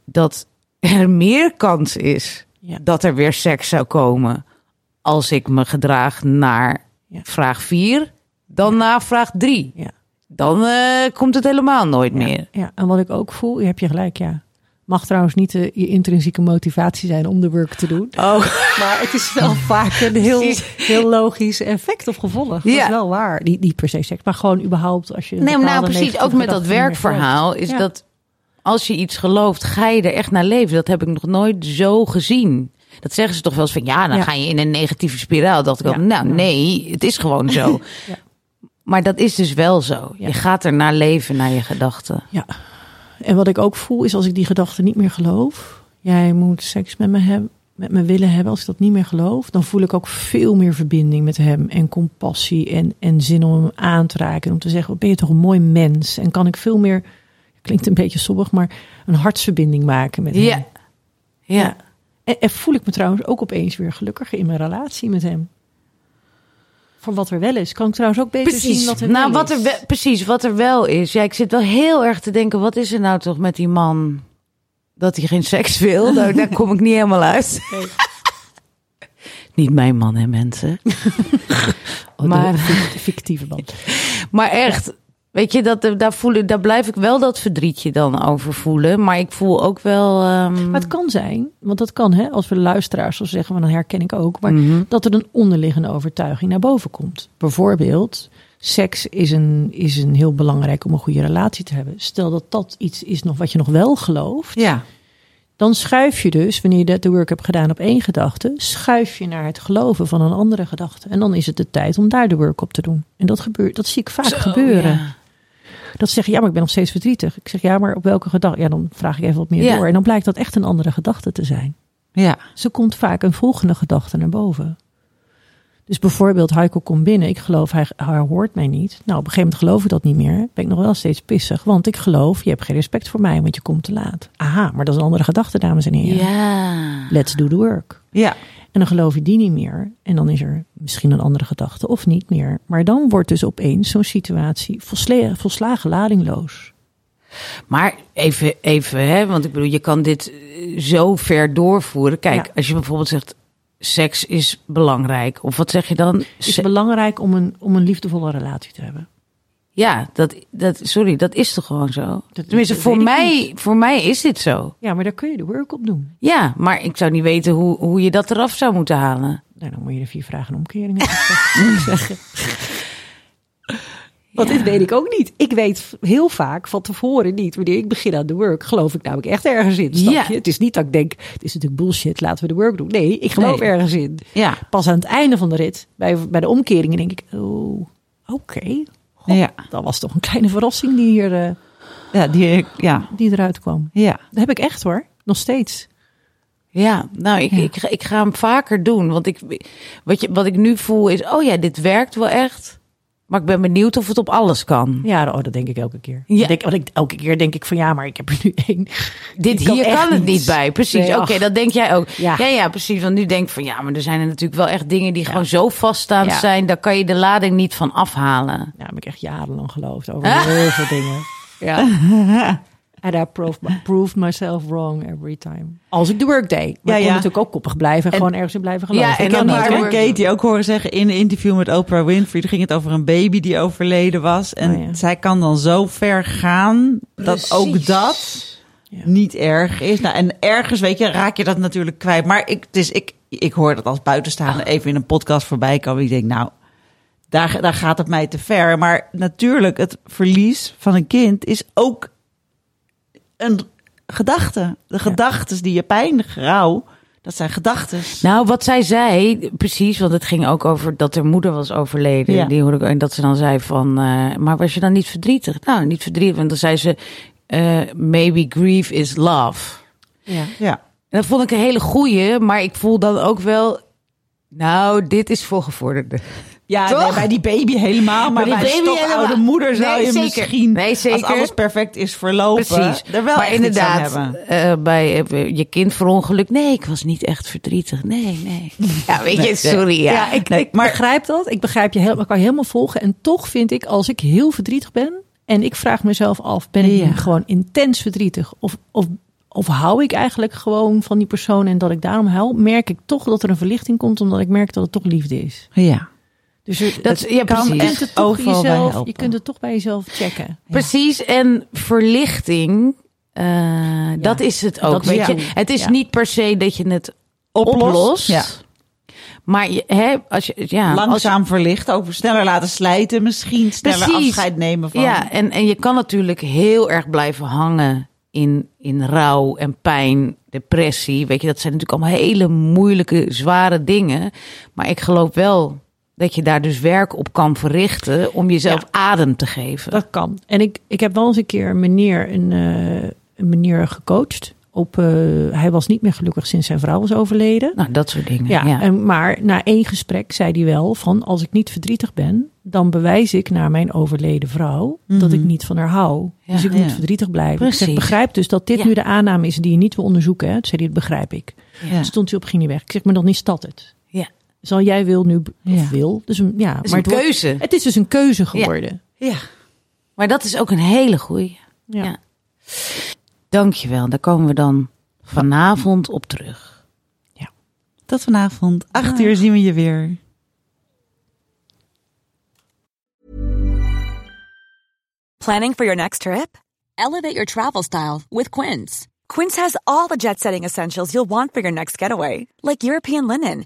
Speaker 2: dat er meer kans is
Speaker 3: Ja.
Speaker 2: dat er weer seks zou komen als ik me gedraag naar
Speaker 3: Ja.
Speaker 2: vraag 4, dan naar vraag 3.
Speaker 3: Ja.
Speaker 2: Dan eh, komt het helemaal nooit meer.
Speaker 3: Ja, en wat ik ook voel, je heb je gelijk, ja. Mag trouwens niet eh, je intrinsieke motivatie zijn om de work te doen.
Speaker 2: Oh,
Speaker 3: Maar het is wel vaak een heel,
Speaker 2: Precies.
Speaker 3: heel logisch effect of gevolg. Dat
Speaker 2: Ja.
Speaker 3: is wel waar. Niet, niet per se seks, maar gewoon überhaupt als je. een
Speaker 2: nee, maar nou
Speaker 3: bepaalde
Speaker 2: precies. Ook
Speaker 3: negatieve
Speaker 2: met dat
Speaker 3: gedachte niet meer
Speaker 2: werkverhaal
Speaker 3: volgt.
Speaker 2: is
Speaker 3: Ja.
Speaker 2: dat als je iets gelooft, ga je er echt naar leven. Dat heb ik nog nooit zo gezien. Dat zeggen ze toch wel eens van ja, dan
Speaker 3: Ja.
Speaker 2: ga je in een negatieve spiraal. Dacht ik
Speaker 3: Ja.
Speaker 2: ook, nou nee, het is gewoon zo.
Speaker 3: Ja.
Speaker 2: Maar dat is dus wel zo.
Speaker 3: Ja.
Speaker 2: Je gaat er naar leven, naar je gedachten.
Speaker 3: Ja. En wat ik ook voel is als ik die gedachte niet meer geloof. Jij moet seks met me, hebben, met me willen hebben. Als ik dat niet meer geloof, dan voel ik ook veel meer verbinding met hem. En compassie en, en zin om hem aan te raken. En om te zeggen, wat ben je toch een mooi mens. En kan ik veel meer, klinkt een beetje sobbig, maar een hartsverbinding maken met hem.
Speaker 2: Ja. ja.
Speaker 3: En, en voel ik me trouwens ook opeens weer gelukkiger in mijn relatie met hem. Van wat er wel is. Kan ik trouwens ook beter zien wat er
Speaker 2: nou,
Speaker 3: wel
Speaker 2: wat
Speaker 3: is.
Speaker 2: er wel, precies, wat er wel is. Ja, ik zit wel heel erg te denken, wat is er nou toch met die man? Dat hij geen seks wil? Nou, daar kom ik niet helemaal uit.
Speaker 3: Nee.
Speaker 2: niet mijn man, hè, mensen.
Speaker 3: Oh, de
Speaker 2: maar- Mm.
Speaker 3: fict- fictieve band.
Speaker 2: Maar echt, weet je, dat, eh, daar, voel ik, daar blijf ik wel dat verdrietje dan over voelen. Maar ik voel ook wel... ehm,
Speaker 3: Maar het kan zijn, want dat kan hè, als we luisteraars zo zeggen, maar dan herken ik ook, maar
Speaker 2: Mhm.
Speaker 3: dat er een onderliggende overtuiging naar boven komt. Bijvoorbeeld, seks is, een, is een heel belangrijk om een goede relatie te hebben. Stel dat dat iets is nog wat je nog wel gelooft,
Speaker 2: Ja.
Speaker 3: dan schuif je dus, wanneer je dat the work hebt gedaan op één gedachte, schuif je naar het geloven van een andere gedachte. En dan is het de tijd om daar de work op te doen. En dat gebeurt, dat zie ik vaak gebeuren.
Speaker 2: Ja.
Speaker 3: Dat ze zeggen, ja, maar ik ben nog steeds verdrietig. Ik zeg, ja, maar op welke gedachte? Ja, dan vraag ik even wat meer
Speaker 2: Ja.
Speaker 3: door. En dan blijkt dat echt een andere gedachte te zijn.
Speaker 2: ja.
Speaker 3: Ze komt vaak een volgende gedachte naar boven. Dus bijvoorbeeld, Heiko komt binnen. Ik geloof, hij, hij hoort mij niet. Nou, op een gegeven moment geloof ik dat niet meer. Ben ik nog wel steeds pissig. Want ik geloof, je hebt geen respect voor mij, want je komt te laat. Aha, maar dat is een andere gedachte, dames en heren.
Speaker 2: Ja.
Speaker 3: Let's do the work.
Speaker 1: Ja.
Speaker 3: En dan geloof je die niet meer. En dan is er misschien een andere gedachte of niet meer. Maar dan wordt dus opeens zo'n situatie volsle- volslagen ladingloos.
Speaker 2: Maar even, even hè, want ik bedoel, je kan dit eh, zo ver doorvoeren. Kijk,
Speaker 3: Ja.
Speaker 2: als je bijvoorbeeld zegt, seks is belangrijk. Of wat zeg je dan?
Speaker 3: Het is
Speaker 2: Se-
Speaker 3: belangrijk om een, om een liefdevolle relatie te hebben.
Speaker 2: ja, dat, dat, sorry, dat is toch gewoon zo?
Speaker 3: Dat-
Speaker 2: Tenminste,
Speaker 3: dat
Speaker 2: voor
Speaker 3: weet ik
Speaker 2: mij, voor mij is dit zo.
Speaker 3: Ja, maar daar kun je de work op doen.
Speaker 2: Ja, maar ik zou niet weten hoe, hoe je dat eraf zou moeten halen.
Speaker 3: Nou, dan moet je de vier vragen en omkeringen zeggen. Want dit weet ik ook niet. Ik weet heel vaak van tevoren niet. Wanneer ik begin aan de work, geloof ik namelijk echt ergens in. Snap
Speaker 2: Ja.
Speaker 3: je? Het is niet dat ik denk, het is natuurlijk bullshit, laten we de work doen. Nee, ik geloof
Speaker 2: Nee.
Speaker 3: ergens in.
Speaker 2: Ja,
Speaker 3: Pas aan het einde van de rit, bij, bij de omkeringen, denk ik, oh, oké. Goh,
Speaker 1: Ja.
Speaker 3: Dat was toch een kleine verrassing die, hier, eh,
Speaker 1: Ja, die, ja,
Speaker 3: die eruit kwam.
Speaker 1: ja.
Speaker 3: Dat heb ik echt hoor, nog steeds.
Speaker 2: ja. nou, ik,
Speaker 3: Ja.
Speaker 2: Ik, ik ga hem vaker doen. Want ik, wat, je, wat ik nu voel is, oh ja, dit werkt wel echt. Maar ik ben benieuwd of het op alles kan.
Speaker 3: Ja, oh, dat denk ik elke keer.
Speaker 2: Ja. oh,
Speaker 3: Ik Denk, want ik, elke keer denk ik van ja, maar ik heb er nu één.
Speaker 2: Dit
Speaker 3: Ik kan
Speaker 2: hier
Speaker 3: echt
Speaker 2: kan het
Speaker 3: niets.
Speaker 2: niet bij. Precies.
Speaker 3: Nee,
Speaker 2: Oké,
Speaker 3: ach.
Speaker 2: dat denk jij ook. Ja.
Speaker 3: Ja.
Speaker 2: ja, precies. Want nu denk ik van ja, maar er zijn er natuurlijk wel echt dingen die gewoon zo vaststaand
Speaker 3: Ja.
Speaker 2: zijn. Daar kan je de lading niet van afhalen.
Speaker 3: Nou, heb ik echt jarenlang geloofd over heel veel dingen.
Speaker 2: Ja.
Speaker 3: En I proved, my- proved myself wrong every time. Als ik de work deed.
Speaker 1: Ja,
Speaker 3: Maar ik
Speaker 1: ja.
Speaker 3: kon natuurlijk ook koppig blijven en,
Speaker 1: En-
Speaker 3: gewoon ergens in blijven geloven.
Speaker 2: Ja, en
Speaker 1: Ik
Speaker 2: dan
Speaker 1: heb
Speaker 2: niet
Speaker 1: Mark
Speaker 2: door.
Speaker 1: en Katie ook horen zeggen in een interview met Oprah Winfrey. Toen ging het over een baby die overleden was. En
Speaker 3: Oh ja.
Speaker 1: zij kan dan zo ver gaan dat ook dat
Speaker 3: Ja.
Speaker 1: niet erg is. Nou, en ergens, weet je, raak je dat natuurlijk kwijt. Maar ik, het is, ik, ik hoor dat als buitenstaander even in een podcast voorbij komen. Ik denk, nou, daar, daar gaat het mij te ver. Maar natuurlijk, het verlies van een kind is ook een gedachte. De gedachten die je pijn, rouw, dat zijn gedachten.
Speaker 2: Nou, wat zij zei, precies, want het ging ook over dat haar moeder was overleden.
Speaker 1: Ja.
Speaker 2: Die hoorde ik, en dat ze dan zei van, eh, maar was je dan niet verdrietig? Nou, niet verdrietig. Want dan zei ze, eh, maybe grief is love.
Speaker 3: Ja.
Speaker 1: Ja.
Speaker 2: En dat vond ik een hele goeie, maar ik voel dan ook wel, nou, dit is voor gevorderden.
Speaker 1: Ja,
Speaker 2: Toch?
Speaker 1: nee, bij die baby helemaal. Maar,
Speaker 2: die
Speaker 1: bij een
Speaker 2: baby
Speaker 1: stokoude
Speaker 2: helemaal.
Speaker 1: moeder zou
Speaker 2: Nee,
Speaker 1: je
Speaker 2: zeker.
Speaker 1: misschien,
Speaker 2: Nee, zeker.
Speaker 1: als alles perfect is verlopen,
Speaker 2: Precies.
Speaker 1: er wel
Speaker 2: maar
Speaker 1: echt iets aan
Speaker 2: inderdaad,
Speaker 1: hebben.
Speaker 2: eh, bij eh, je kind verongelukt. Nee, ik was niet echt verdrietig. Nee, nee. Ja, weet je, sorry. Ja.
Speaker 3: Ja, ik,
Speaker 1: Nee,
Speaker 3: ik
Speaker 1: maar-
Speaker 3: begrijp dat. Ik begrijp je helemaal. Ik kan je helemaal volgen. En toch vind ik, als ik heel verdrietig ben. En ik vraag mezelf af, ben ik
Speaker 1: Ja.
Speaker 3: nu gewoon intens verdrietig? Of, of of hou ik eigenlijk gewoon van die persoon en dat ik daarom hou, merk ik toch dat er een verlichting komt, omdat ik merk dat het toch liefde is.
Speaker 1: Ja.
Speaker 3: Dus er-
Speaker 2: Dat, ja,
Speaker 1: kan
Speaker 3: je
Speaker 2: precies.
Speaker 3: kunt
Speaker 1: echt
Speaker 3: het toch
Speaker 1: overal bij
Speaker 3: jezelf, je
Speaker 1: helpen.
Speaker 3: kunt het toch bij jezelf checken.
Speaker 2: Precies, en verlichting, eh, dat is het ook.
Speaker 3: dat
Speaker 2: weet
Speaker 3: is
Speaker 2: je.
Speaker 3: het.
Speaker 2: Het is
Speaker 3: Ja.
Speaker 2: niet per se dat je het oplost.
Speaker 1: Ja.
Speaker 2: Maar je, hè, als je, ja, Nou, als je-
Speaker 1: Langzaam verlicht, ook sneller laten slijten misschien, sneller
Speaker 2: Precies.
Speaker 1: afscheid nemen van.
Speaker 2: Ja, en, en je kan natuurlijk heel erg blijven hangen in, in rouw en pijn, depressie. Weet je, dat zijn natuurlijk allemaal hele moeilijke, zware dingen. Maar ik geloof wel dat je daar dus werk op kan verrichten om jezelf
Speaker 3: Ja.
Speaker 2: adem te geven.
Speaker 3: Dat kan. En ik, ik heb wel eens een keer een meneer, een, eh, een meneer gecoacht. Op, eh, hij was niet meer gelukkig sinds zijn vrouw was overleden.
Speaker 2: nou, dat soort dingen.
Speaker 3: Ja,
Speaker 2: Ja, ja.
Speaker 3: En, maar na één gesprek zei hij wel van als ik niet verdrietig ben, dan bewijs ik naar mijn overleden vrouw dat ik niet van haar hou.
Speaker 2: Mhm. Ja,
Speaker 3: dus ik
Speaker 1: ja.
Speaker 3: moet verdrietig blijven. Ik zeg,
Speaker 2: Precies.
Speaker 3: begrijp dus dat dit
Speaker 2: Ja.
Speaker 3: nu de aanname is die je niet wil onderzoeken. Hè? Toen zei hij, dat begrijp ik.
Speaker 1: Ja.
Speaker 3: Stond hij op, ging hij weg. Ik zeg, maar dan is dat het.
Speaker 2: Ja.
Speaker 3: Zal jij wil nu, of
Speaker 1: Ja.
Speaker 3: wil. Dus een, ja,
Speaker 2: is
Speaker 3: maar
Speaker 2: een
Speaker 3: het wordt-
Speaker 2: keuze.
Speaker 3: het is dus een keuze geworden.
Speaker 2: Maar dat is ook een hele goeie.
Speaker 3: Ja.
Speaker 2: Ja. Dankjewel, daar komen we dan vanavond op terug.
Speaker 1: Tot vanavond, 8 uur zien we je weer.
Speaker 6: Planning for your next trip? Elevate your travel style with Quince. Quince has all the jet setting essentials you'll want for your next getaway, like European linen,